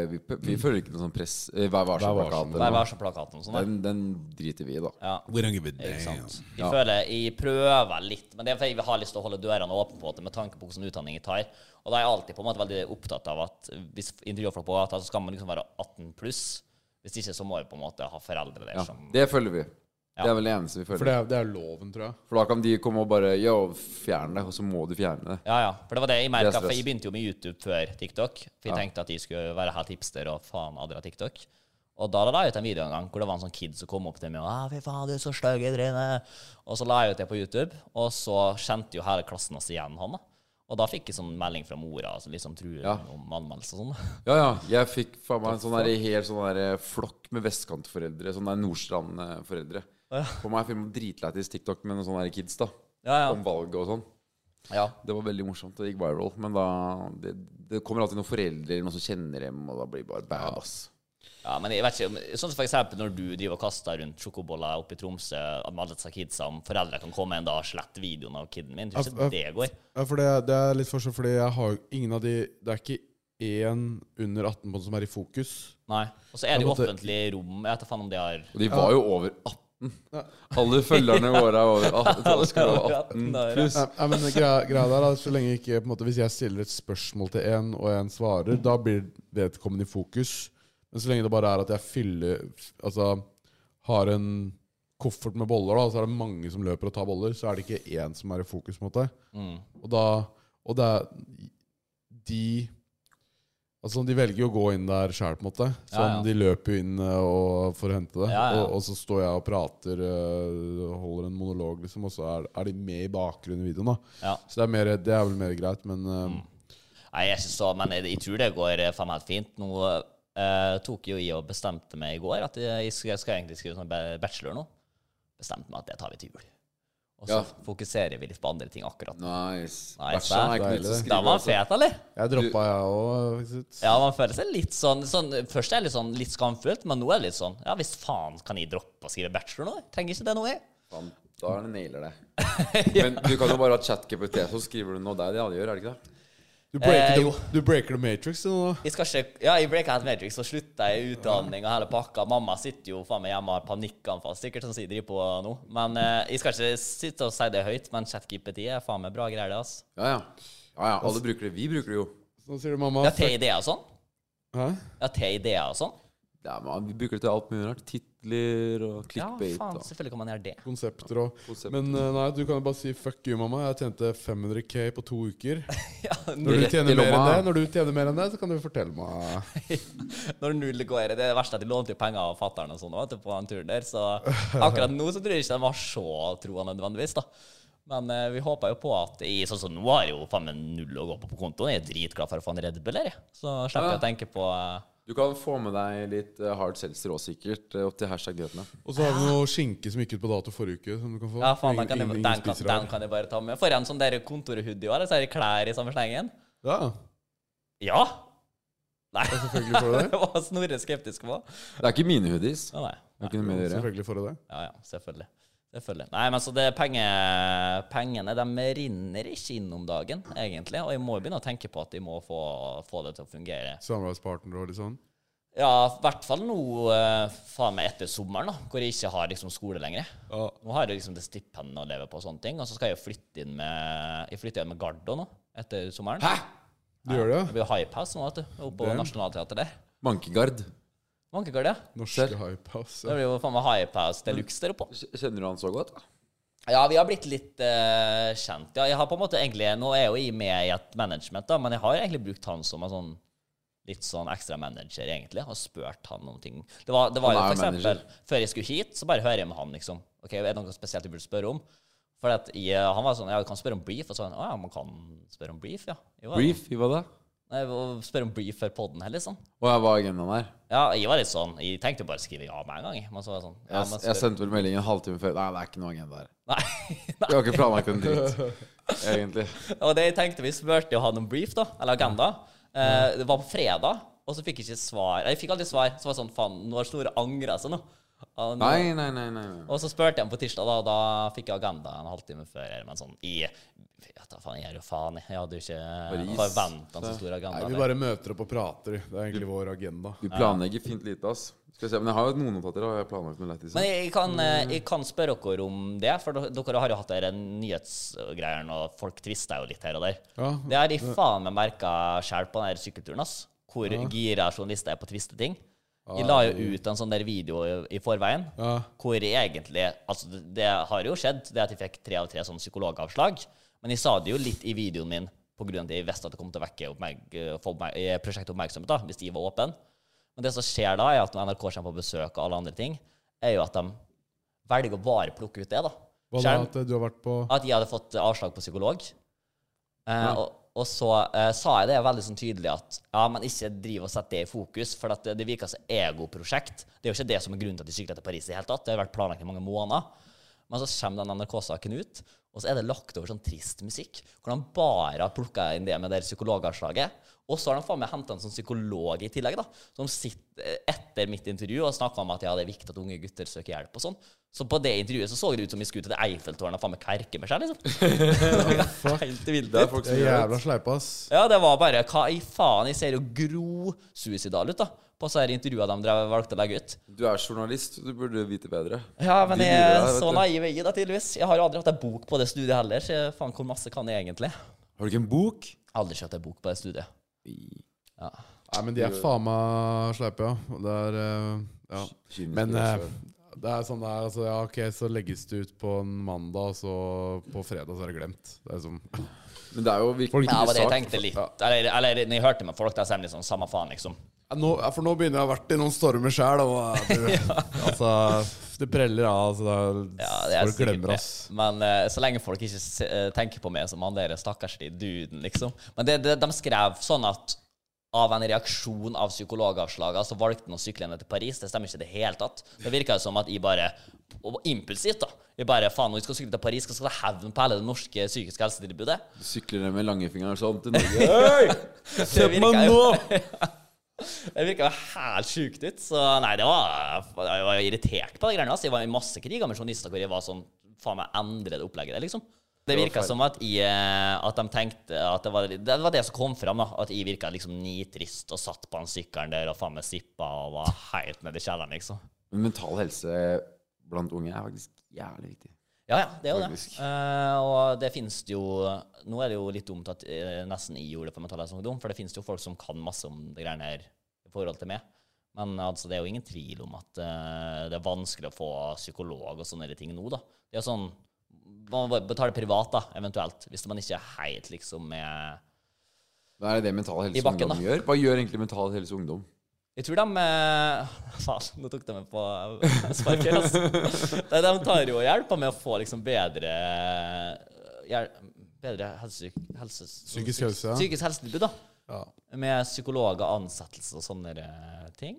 C: Vi, vi følger ikke noe sånn press eh, Vær varsom-plakat.
E: Vær
C: eller noe.
E: varsom plakaten og sånn da.
C: Den, den driter vi i, da.
E: Ja. Ikke sant? Jeg
C: Ja.
E: føler jeg prøver litt, men det er fordi jeg har lyst til å holde dørene åpne på det med tanke på hvordan utdanning jeg tar. Og da er jeg alltid på en måte veldig opptatt av at hvis intervjuer folk på gata, så skal man liksom være 18 pluss. Hvis ikke så må vi på en måte ha foreldre der
C: Ja.
E: som
C: Det følger vi.
E: Ja.
C: Det er vel det eneste vi
D: For det
C: følger.
D: er, det er loven, tror jeg.
C: For da kan de komme og bare Yo, fjern det. Og så må du fjerne det.
E: Ja, ja. For det var det jeg
C: Det
E: merka.
C: er
E: For
C: stress.
E: jeg begynte jo med YouTube før TikTok. For jeg tenkte at jeg skulle være helt hipster og faen aldri ha TikTok. Og da la jeg ut en video en gang hvor det var en sånn kid som kom opp til meg og «Ah, fy faen, du er så stygg i trynet. Og så la jeg ut det på YouTube, og så kjente jo hele klassen oss igjen, han. da. Og da fikk jeg sånn melding fra mora som liksom truer
C: Ja.
E: om anmeldelse og sånn.
C: Ja, ja. Jeg fikk faen meg en sånn der, helt sånn der flokk med vestkantforeldre. Sånn der Nordstrand-foreldre. På meg filma dritlættis TikTok med noen sånne der kids da
E: Ja, ja.
C: om valget og sånn.
E: ja.
C: Det var veldig morsomt. Det gikk viral. Men da det, det kommer alltid noen foreldre eller noen som kjenner dem, og da blir det bare bad, ass.
E: Ja, men jeg vet ikke, om- sånn som for eksempel når du driver og kaster rundt sjokoboller oppe i Tromsø med alle disse kidsa, om foreldre kan komme en dag og slette videoen av kiden min,
D: Ja,
E: tror ikke sånn det går.
D: Ja, for det, det er litt forskjell, fordi jeg har jo ingen av de Det er ikke én under 18 på den som er i fokus.
E: Nei. Og så er det jo
D: Jeg måtte-
E: offentlige rom. Jeg vet da faen om det har
C: Og de var jo over 18. Alle følgerne våre er over 18. Så det skulle være 18 pluss.
D: Nei, nei, men greia, greia der er at så lenge ikke på en måte, Hvis jeg stiller et spørsmål til en, og en svarer, da blir vedkommende i fokus. Men så lenge det bare er at jeg fyller Altså har en koffert med boller, da, og så er det mange som løper og tar boller, så er det ikke én som er i fokus. på en måte.
E: Mm.
D: Og da Og det er De Altså, De velger jo å gå inn der sjøl, på en måte. Sånn,
E: Ja, ja.
D: De løper jo inn eh, og for å hente det.
E: Ja, ja.
D: Og, og så står jeg og prater, eh, holder en monolog, liksom, og så er, er de med i bakgrunnen i videoen. da.
E: Ja.
D: Så det er, mer, det er vel mer greit, men eh,
E: Mm. Nei, jeg er ikke så, men jeg, jeg tror det går eh, faen meg helt fint. Nå eh, tok jo jeg og bestemte meg i går at jeg jeg skal, jeg skal egentlig skrive sånn ba- bachelor nå. Bestemte meg at det tar vi til jul. Og så
C: Ja.
E: fokuserer vi litt på andre ting akkurat nå.
C: Nice.
E: Nei,
C: Bæsjan er ikke nytt
D: deilig.
C: å
E: Da
C: skrive.
E: var han
C: altså.
E: fet, eller?
D: jeg droppa, jeg òg, faktisk.
E: Ja, man føler seg litt sånn, sånn Først er det litt sånn litt skamfullt, men nå er det litt sånn Ja, hvis faen kan jeg droppe å skrive bachelor nå? Jeg Trenger ikke det nå, jeg.
C: Faen, Da er det nailer det. Men du kan jo bare ha ChatGPT, så skriver du noe der. Det alle gjør, er det ikke det?
D: Du breaker,
E: Eh, jo.
D: the, du breaker the Matrix nå, da.
E: Jeg skal ikke, ja, i Breakout Matrix så slutta jeg i utdanning og hele pakka. Mamma sitter jo faen meg hjemme og har panikkanfall, sikkert sånn som jeg driver på nå. Men eh, jeg skal ikke sitte og si det høyt, men ChatGPT er faen meg bra greier, det, altså.
C: Ja, ja. ja, ja alle bruker det. Vi bruker det jo.
D: Så sier du mamma
E: Ja, til ideer og sånn.
D: Hæ?
E: Ja, til ideer og sånn.
C: Ja, men vi bruker det til alt mulig rart. Titler og
E: Ja,
C: clickbait.
E: faen,
C: og.
E: selvfølgelig kan man gjøre det.
D: Konsepter og
C: Konsepter.
D: Men eh, nei, du kan jo bare si 'fuck you, mamma'. Jeg tjente 500K på to uker.
E: Ja,
D: Når du
C: Rett i
D: tjener mer enn
C: lomma.
D: det, når du tjener mer enn det, så kan du fortelle meg.
E: Når null går i det er det verste at de lånte jo penger av fatter'n og sånn vet du, på den turen der, så akkurat nå så tror jeg ikke de var så troa nødvendigvis, da. Men eh, vi håpa jo på at i sånn som nå har jeg jo faen meg null å gå på på kontoen. Jeg er dritglad for å få en Red Bull her, jeg. Så slipper jeg å tenke på eh,
C: Du kan få med deg litt eh, hard seltzer òg, sikkert, eh, opp til hashtag nyhetene.
D: Og så har vi noe skinke som gikk ut på dato forrige uke, som du kan få.
E: Ja, faen, den
D: Ingen-
E: kan, jeg,
D: ingen-
E: den,
D: ingen
E: kan,
D: spiser
E: den
D: her.
E: kan jeg bare ta med. Får jeg en sånn der kontorhoodie òg, eller så er det klær i samme slengen?
D: Ja,
E: Ja! Nei,
D: selvfølgelig får du det.
E: det var Snorre skeptisk på.
C: Det er ikke mine hoodies.
E: Å, nei.
C: Det er ikke noe med å gjøre.
D: Selvfølgelig får du det.
E: Ja, ja, selvfølgelig. Selvfølgelig. Nei, men så det er penge, pengene de rinner ikke inn om dagen, egentlig. Og jeg må jo begynne å tenke på at jeg må få, få det til å fungere.
D: Samarbeidspartner og litt sånn.
E: Ja, i hvert fall nå eh, faen meg etter sommeren, da, hvor jeg ikke har liksom skole lenger.
D: Ja.
E: Nå har jeg liksom det stipendet å leve på og sånne ting. Og så skal jeg jo flytte inn med Jeg flytter inn med Gardo nå, etter sommeren. Hæ?
D: Du gjør det,
E: Det blir highpass nå, vet du. Oppe på
D: Damn.
E: Nationaltheatret der.
C: Mankegard.
E: Mankegard, ja.
D: ja? Norske hypehouse.
E: Det blir jo faen meg highpass de luxe der oppe.
C: Kj- Kjenner du han så godt? da?
E: Ja, vi har blitt litt eh, kjent. Ja, jeg har på en måte egentlig, Nå er jo jeg med i et management, da, men jeg har egentlig brukt han som en sånn litt sånn ekstra manager, egentlig. Har spurt han om ting. Det var, det var jo
C: Han er
E: for
C: jo manager.
E: eksempel, Før jeg skulle hit, så bare hører jeg med han, liksom. Ok, Er det noe spesielt jeg burde spørre om? For at jeg, han var sånn Ja, du kan spørre om brief. Og så var han Å ja, man kan spørre om brief, ja. Jeg var-
C: Brief, i hva da?
E: Nei, å spørre om brief før podden heller, sånn.
C: Og jeg var agendaen her.
E: Ja, jeg var litt sånn Jeg tenkte bare å skrive ja med en gang, jeg. men så var jeg sånn ja,
C: Jeg, jeg
E: men spør-
C: sendte vel meldingen en halvtime før. Nei, det er ikke noe agenda her.
E: Nei.
C: Vi har ikke planlagt en dritt, egentlig.
E: Og det jeg tenkte, vi spurte jo han om brief, da, eller agenda. Eh, det var på fredag, og så fikk jeg ikke svar. Jeg fikk aldri svar. Så var det sånn, faen, nå har Store angra seg nå. Og, nå-
C: Nei, nei, nei. nei. nei.
E: og så spurte jeg ham på tirsdag, da, og da fikk jeg agenda en halvtime før. eller, Men sånn, i vet da faen, jeg gjør jo faen, jeg hadde jo ikke
C: Paris.
E: forventa en så stor agenda.
D: Nei, vi bare møter opp og prater. Det er egentlig vår agenda.
C: Du planlegger fint lite, ass. Skal vi se, Men jeg har jo noen notater. Har jeg planlagt noe
D: sånn.
C: lættis?
E: Men jeg, jeg, kan,
D: Mm.
E: eh, jeg kan spørre dere om det, for dere- dere har jo hatt dere nyhetsgreier, og folk tvister jo litt her og der.
D: Ja.
E: Det har jeg faen meg merka sjøl på den her sykkelturen, ass. Hvor gira journalister er på å tviste ting. Jeg la jo ut en sånn der video i- i forveien,
D: Ja.
E: hvor jeg egentlig Altså, det, det har jo skjedd, det at jeg fikk tre av tre sånn psykologavslag, men jeg sa det jo litt i videoen min på grunn av at jeg visste at det kom til å vekke oppmerk- få oppmerk- eh, prosjektet oppmerksomhet, da, hvis de var åpen. Men det som skjer da, er at når NRK kommer på besøk og alle andre ting, er jo at de velger å bare plukke ut det, da.
D: Hva da,
E: Skjerm-
D: at du har vært på
E: at jeg hadde fått avslag på psykolog. Eh, og, og så eh, sa jeg det veldig sånn tydelig at ja, men ikke driv og sett det i fokus, for at det, det virker som egoprosjekt. Det er jo ikke det som er grunnen til at de sykler til Paris i det hele tatt. Det har vært planlagt i mange måneder. Men så kommer den NRK-saken ut, og så er det lagt over sånn trist musikk, hvor de bare har plukka inn det med det psykologavslaget. Og så har de faen meg henta en sånn psykolog i tillegg, da, som sitter eh, etter mitt intervju og snakker om at ja, det er viktig at unge gutter søker hjelp og sånn. Så på det intervjuet så så det ut som vi skulle til det Eiffeltårnet og faen meg kverke med seg, liksom. Det var Helt vilt.
C: det er folk
D: Det
C: som
D: er
C: gjør det.
D: jævla sleipe, ass.
E: Ja, det var bare Hva i faen? Jeg ser jo gro-suicidal ut, da, på disse her intervjua de drev, valgte å legge ut.
C: Du er journalist, du burde vite bedre.
E: Ja, men
C: De
E: jeg
C: lurer
E: er
C: deg, vet
E: så
C: du.
E: naiv i det, tydeligvis. Jeg har jo aldri hatt ei bok på det studiet heller, så jeg- faen, hvor masse kan jeg egentlig?
C: Har du ikke en bok?
E: Aldri kjøpt ei bok på det studiet.
D: Nei, men de er faen meg sleipe, ja. Det er eh, Ja.
C: Kynisk,
D: Men
C: altså.
D: eh, det er sånn det er. Altså, ja, ok, så legges det ut på en mandag, og så på fredag så er det glemt. Det er som
C: Men det er jo virkelig
D: Folk-
E: Ja, men jeg
C: sak.
E: tenkte litt Eller, eller når jeg hørte med folk, da sa de liksom samme faen, liksom.
D: Ja, nå, ja, for nå begynner jeg å ha vært i noen stormer sjæl, og eh, det, altså, det preller av. Altså, det er,
E: Ja, det er
D: folk
E: sikkert
D: glemmer
E: det.
D: oss.
E: Men eh, så lenge folk ikke se, eh, tenker på meg som han der stakkarslige duden, liksom. Men det, det, de skrev sånn at av en reaksjon av psykologavslaget, så valgte han å sykle ned til Paris. Det stemmer ikke i det hele tatt. Det virka jo som at jeg bare og Impulsivt, da. Jeg bare faen, når jeg skal sykle til Paris, skal jeg ta hevn på hele det norske psykiske helsetilbudet.
C: Du sykler ned med langfingeren sånn til Norge. Hei!
E: Se på meg nå! Det virka jo helt sjukt ut. Så nei, det var, jeg var irritert på de greiene. Altså. Jeg var i masse kriger med journalister hvor jeg var sånn Faen meg endre det opplegget der, liksom. Det virka som at, jeg, eh, at de tenkte at det var det, var det som kom fram. da, At jeg virka liksom nitrist og satt på den sykkelen der og faen meg sippa og var helt nede i kjelleren, liksom.
C: Men mental helse blant unge er faktisk jævlig viktig.
E: Ja, ja, det er jo
C: Faktisk.
E: det. Eh, og det finnes det jo Nå er det jo litt dumt at eh, nesten jeg gjorde det på Mental Helse Ungdom, for det finnes jo folk som kan masse om det greiene her i forhold til meg. Men altså, det er jo ingen tvil om at eh, det er vanskelig å få psykolog og sånne der ting nå, da. Det er jo sånn Man må betale privat, da, eventuelt, hvis man ikke er helt liksom med
C: Men er det det Mental
E: I
C: Helse
E: bakken,
C: Ungdom
E: da.
C: gjør? Hva gjør egentlig Mental Helse Ungdom?
E: Jeg tror de eh, Faen, nå tok de meg på sparket. Altså. Nei, De tar jo og hjelper med å få liksom bedre eh, hjel- Bedre helse, helse,
D: Psykisk helse, ja.
E: psykisk helsetilbud, da.
D: Ja.
E: Med psykologer, ansettelse og sånne eh, ting.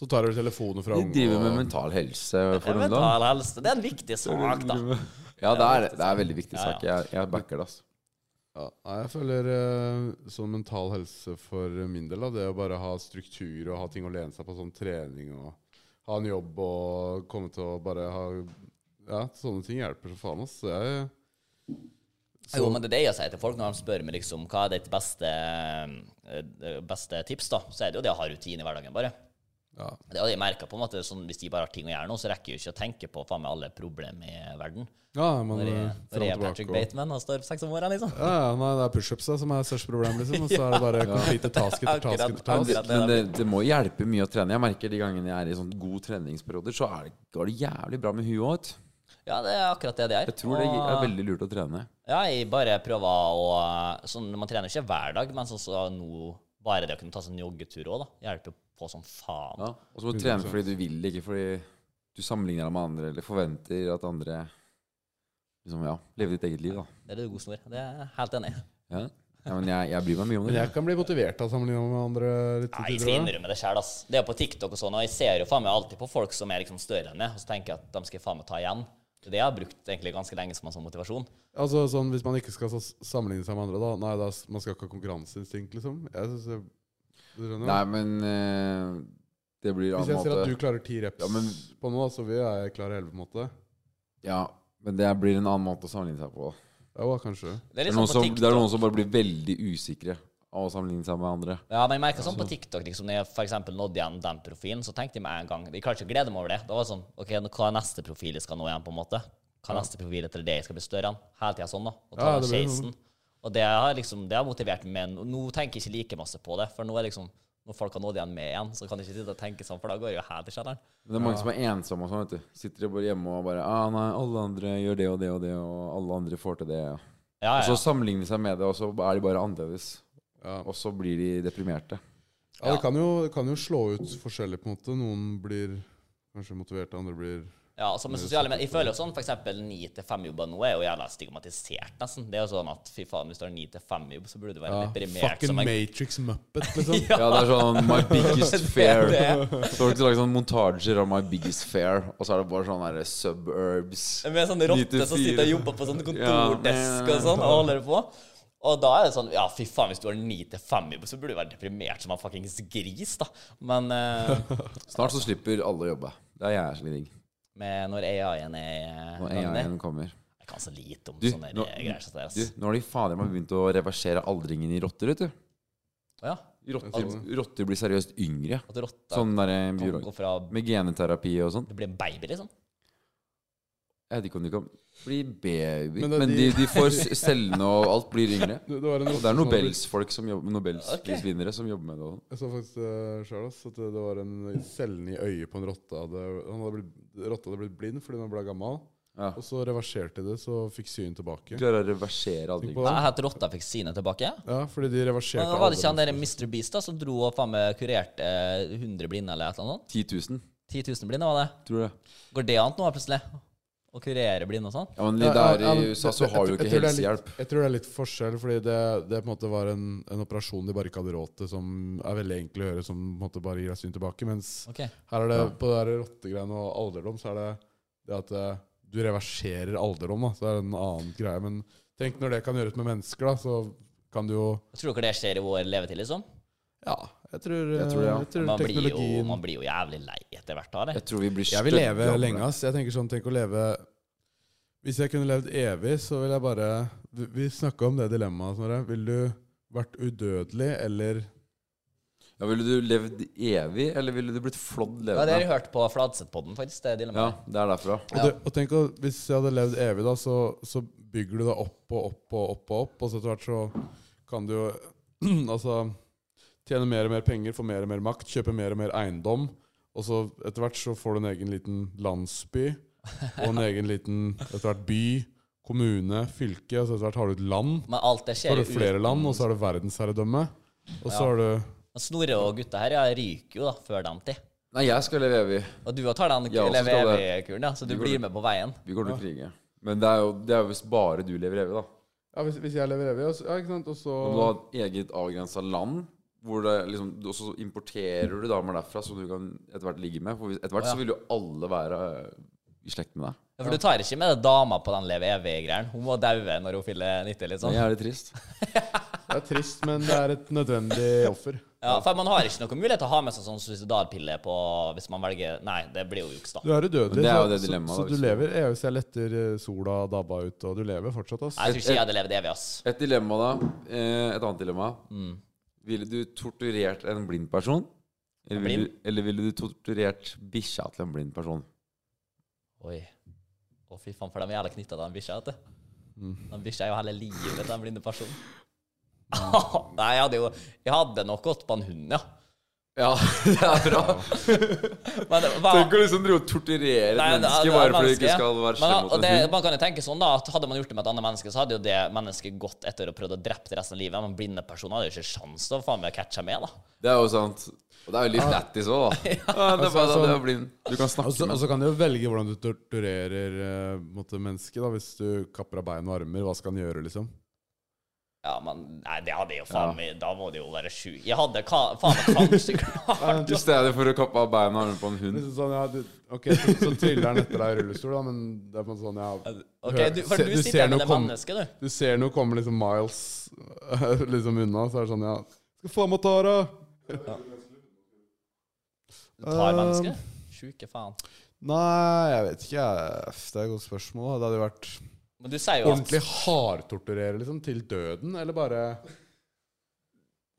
D: Så tar du telefonen fra
C: De
D: unge
C: driver med
D: og-
C: mental helse for ungdom.
E: Mental helse. Det er en viktig sak, da.
C: Ja, det er, det er en veldig viktig
E: Ja, ja.
C: sak. Jeg, jeg backer det, altså.
D: ja, Nei, jeg føler eh, sånn mental helse for min del, da, det å bare ha struktur og ha ting å lene seg på, sånn trening og ha en jobb og komme til å bare ha Ja, sånne ting hjelper som faen, ass. Så Jeg,
E: Jo, men det er det jeg sier til folk når de spør meg liksom, hva er ditt beste, eh, beste tips, da. Så er det jo det å ha rutine i hverdagen, bare.
D: Ja.
E: Det hadde jeg merket på en måte. Sånn, hvis de bare har ting å gjøre nå, så rekker jeg jo ikke å tenke på faen meg alle problemer i verden.
D: ja, man
E: Når jeg,
D: eh,
E: når jeg
D: fram
E: er
D: og
E: Patrick
D: tilbake og
E: Bateman og står opp seks om morgenen, liksom.
D: ja, ja, nei, Det er pushups da, som er største problem, liksom. Og så er det bare complete task etter task
E: Akkurat,
D: etter task.
E: akkurat.
C: Men det, det må hjelpe mye å trene. Jeg merker de gangene jeg er i sånn god treningsperioder, så er det, går det jævlig bra med huet òg.
E: Ja, det er akkurat det det er.
C: Jeg tror det er veldig lurt å trene.
E: Ja, jeg bare prøver å sånn, Man trener ikke hver dag, men sånn så nå Bare det å kunne ta seg en joggetur òg, da. Hjelper på som faen.
C: Ja. Og så må du trene fordi du vil, ikke fordi du sammenligner deg med andre eller forventer at andre liksom, ja, lever ditt eget liv. da.
E: Det er det god snor. Det er jeg helt enig i.
C: Ja, ja men jeg, jeg bryr meg mye om
D: Men
C: det.
D: jeg kan bli motivert av sammenligna med andre litt
E: Nei, jeg
D: tidligere.
E: skal
D: da.
E: innrømme det sjøl, ass. Det er jo på TikTok og sånn, og jeg ser jo faen meg alltid på folk som er liksom større enn meg, og så tenker jeg at de skal faen meg ta igjen. Det er det jeg har brukt egentlig ganske lenge som en sånn motivasjon.
D: Altså sånn, Hvis man ikke skal så- sammenligne seg med andre, da Nei, da, s- man skal ikke ha konkurranseinstinkt, liksom. Jeg synes det, du skjønner?
C: Nei, men eh, det blir
D: Hvis jeg
C: annen
D: ser at
C: måte.
D: du klarer ti reps
C: Ja, men-
D: på noe, så vil jeg klare elleve, på en måte.
C: Ja, men det blir en annen måte å sammenligne seg på.
D: Ja, kanskje.
E: Det er
C: Det er,
E: liksom
C: noen
E: på
C: som,
E: TikTok.
C: det er noen som bare blir veldig usikre av å sammenligne seg med andre.
E: Ja, men jeg merket sånn på TikTok, liksom, når jeg for eksempel nådde igjen den profilen, så tenkte jeg meg en gang Jeg klarte ikke å glede meg over det. Da var det sånn OK, nå- hva er neste profil jeg skal nå igjen, på en måte? Hva er neste profil etter det jeg skal bli større enn? Hele tida sånn, da. Og ta
D: Ja,
E: den
D: det blir
E: chasen. Og det har liksom Det har motivert meg, men nå tenker jeg ikke like masse på det. For nå er liksom Når folk har nådd igjen med igjen, så kan jeg ikke sitte og tenke sånn, for da går jeg jo helt i kjelleren.
C: Men det er mange som er ensomme og sånn, vet du. Sitter bare hjemme og bare ah, nei, alle andre gjør det og det og det, og alle andre får til det.
E: Ja,
C: Og
E: ja.
C: så sammenligner de seg med det, og så er de bare annerledes.
D: Ja.
C: Og så blir de deprimerte.
D: Ja, det kan jo, det kan jo slå ut forskjellig, på en måte. Noen blir kanskje motivert, andre blir
E: Ja, altså med sosiale medier. Jeg føler jo sånn, for eksempel 9-5-jobber nå er jo jævla stigmatisert, nesten. Det er jo sånn at fy faen, hvis du har 9-5-jobb, så burde du være deprimert
D: Fucking
E: som en
D: Matrix Muppet, liksom.
C: Ja, det er sånn My biggest fair.
E: Det er
C: Så har de laget sånn montasjer av My biggest fair, og så er det bare sånn derre suburbs.
E: Med sånn rotte som
C: 94.
E: sitter og jobber på sånn
C: Ja,
E: kontordesk
C: men-
E: og sånn, og holder på. Og da er det sånn Ja, fy faen, hvis du har ni til fem jobb, så burde du være deprimert som en fuckings gris, da. Men eh,
C: Snart så slipper alle å jobbe. Det er jeg som digg.
E: med når AI-en er
C: Når
E: landet,
C: AI-en kommer.
E: Jeg kan så lite om
C: Du,
E: sånne
C: nå-
E: greier som det
C: Du,
E: der.
C: nå har de fader meg begynt å reversere aldringen i rotter, vet du.
E: Å ja.
C: Rotter, rotter blir seriøst yngre.
E: At rotta
C: Sånn derre
E: kan gå
C: biolog.
E: fra
C: Med geneterapi og sånn.
E: Det blir en baby, liksom.
C: Jeg vet ikke om de kan bli baby,
D: Men
C: men,
D: det
C: de,
D: er de-
C: de får s- cellene, og alt blir yngre.
D: Det, det var en
C: Og det er
D: som hadde-
C: Nobelsfolk som jobber, Nobelprisvinnere som jobber med det. og sånn.
D: Jeg så faktisk uh, sjøl at det, det var en cellen i øyet på en rotte. Hadde, han hadde blitt, rotta hadde blitt blind fordi den ble gammel.
C: Ja.
D: Og så reverserte de det, så fikk syn tilbake.
C: Klarer å reversere
D: Tenk
C: aldringen.
D: på det.
E: Jeg het rotta fikk sine tilbake.
D: Ja, fordi de reverserte
E: Men var
D: alderen.
E: det ikke han der Mr. Beast da, som dro og faen meg kurerte eh, 100 blinde eller et eller annet sånt?
C: 10 000,
E: 10 000 blinde, var det?
C: tror jeg.
E: Går det an nå, plutselig? Å kurere blinde og sånn?
C: Ja, men
D: Ja, ja,
C: der
D: ja, men
C: i USA
D: det-
C: så
D: det-
C: har
D: jeg
C: du
D: tror-
C: ikke
D: jeg tror det er litt-
C: helsehjelp.
D: Jeg tror det er litt forskjell, fordi det, det på en måte var en, en operasjon de bare ikke hadde råd til, som er veldig enkel å gjøre, som på en måte bare gir deg syn tilbake. Mens
E: Ok.
D: her er det på det der rottegreiene og alderdom, så er det det at eh, du reverserer alderdom, da. Så er det en annen greie. Men tenk når det kan gjøres med mennesker, da, så kan du jo
E: Tror dere det skjer i vår levetid, liksom?
D: Ja, jeg tror,
C: Jeg tror det, ja.
D: jeg tror
E: Man blir, jo,
D: teknologien
E: man blir jo jævlig lei etter hvert av det.
C: Jeg tror vi blir
D: Jeg vil leve
C: stødigere.
D: lenge, ass. Jeg tenker sånn, tenk å leve Hvis jeg kunne levd evig, så ville jeg bare Vi, vi snakka om det dilemmaet, Snorre. Ville du vært udødelig eller
C: Ja, ville du levd evig, eller ville du blitt flådd
E: Ja, det har
C: levende?
E: jeg hørt på Fladseth-podden, faktisk.
C: Ja,
E: Det dilemmaet.
C: det er derfra.
D: Og, det, og tenk å, Hvis jeg hadde levd evig, da, så, så bygger du det opp og opp og opp. Og opp Og så etter hvert så kan du jo altså tjene mer og mer penger, få mer og mer makt, kjøpe mer og mer eiendom. Og så etter hvert så får du en egen liten landsby, og en egen liten etter hvert by, kommune, fylke. Og så etter hvert har du et land.
E: Men alt det
D: Så
E: skjer
D: har
E: jo
D: du flere
E: uten-
D: land, og så har du verdensherredømme. Og så
E: Ja.
D: har du
E: Men Snorre og gutta her ja, ryker jo da før den tid.
C: Nei, jeg skal leve evig.
E: Og du òg tar den
C: Ja, og så
E: leve
C: skal det-
E: evig-kuren, ja, så du
C: Vi går
E: blir
C: det.
E: med på veien.
C: Vi går til å krige. Men det er jo det er jo hvis bare du lever evig, da.
D: Ja, hvis, hvis jeg lever evig, og så- ja, ikke sant, og så
C: Om du har et eget avgrensa land, hvor det liksom, og så importerer du damer derfra som du kan etter hvert ligge med. For hvis- etter hvert
E: Å, ja.
C: så vil jo alle være eh, i slekt med deg.
E: Ja, for du tar ikke med deg dama på den leve evig-greien. Hun må daue når hun fyller 90, liksom.
C: Det er jævlig trist.
D: Det er trist, men det er et nødvendig offer.
E: Ja, for man har ikke noen mulighet til å ha med seg sånn suicidalpille på hvis man velger Nei, det blir jo juks, da.
D: Du er udødelig,
C: Men det er jo
D: så-
C: det
D: så,
C: dilemmaet,
D: så
C: da,
D: du
C: hvis du-
D: lever evig. Så jeg letter eh, sola dabba ut, og du lever fortsatt, ass.
E: Jeg tror ikke jeg hadde levd evig, ass.
C: Et dilemma, da. Eh, Et annet dilemma. Ville du torturert en blind person? Eller
E: En
C: ville,
E: blind?
C: du, eller ville du torturert bikkja til en blind person?
E: Oi. Å, fy faen, for de er jævla knytta til den bikkja, vet du.
C: Mm.
E: Den bikkja er jo hele livet til den blinde personen.
C: Mm.
E: Nei, jeg hadde jo Jeg hadde nok gått på en hund, ja.
C: Ja, det er bra.
E: Men det var-
C: Tenk å liksom drive og torturere et
E: Nei, det-
C: menneske
E: det er
C: bare fordi du ikke
E: mennesket.
C: skal være
E: Men,
C: slem mot
E: og
C: en
E: det,
C: hund.
E: Man kan jo tenke sånn da, at hadde man gjort det med et annet menneske, så hadde jo det mennesket gått etter og prøvd å drepe det resten av livet. Men blinde personer hadde jo ikke sjans til å faen meg catche med, da.
C: Det er jo sant. Og det er jo litt lættis òg, da. Ah. Ja, det er bare sånn- Altså, at du er blind. Du kan
D: Og så
C: snakke
D: og
C: med
D: så kan du jo velge hvordan du torturerer eh, måtte, mennesket. da Hvis du kapper av bein og armer, hva skal han gjøre, liksom?
E: Ja, men nei, det hadde jo faen meg Da må det jo være sju. Jeg hadde ka, faen meg kanskje klart
C: I stedet for å kappe av beina og armene på en hund.
D: Liksom sånn, ja, du, ok, så, så triller han etter deg i rullestol, da, men det er på en måte sånn, ja
E: OK,
D: Hør,
E: du, for
D: se-
E: du,
D: du ser
E: sitter her
D: noe
E: med det
D: kom-
E: mennesket, du.
D: Du ser noe komme liksom miles liksom unna, så er det sånn, ja Skal faen meg ta deg!
E: Du
C: Um,
E: tar mennesket. Sjuke faen.
D: Nei, jeg vet ikke. Jeg. Det er et godt spørsmål. da. Det hadde jo vært
E: Men du sier jo at
D: ordentlig hardtorturere, liksom, til døden, eller bare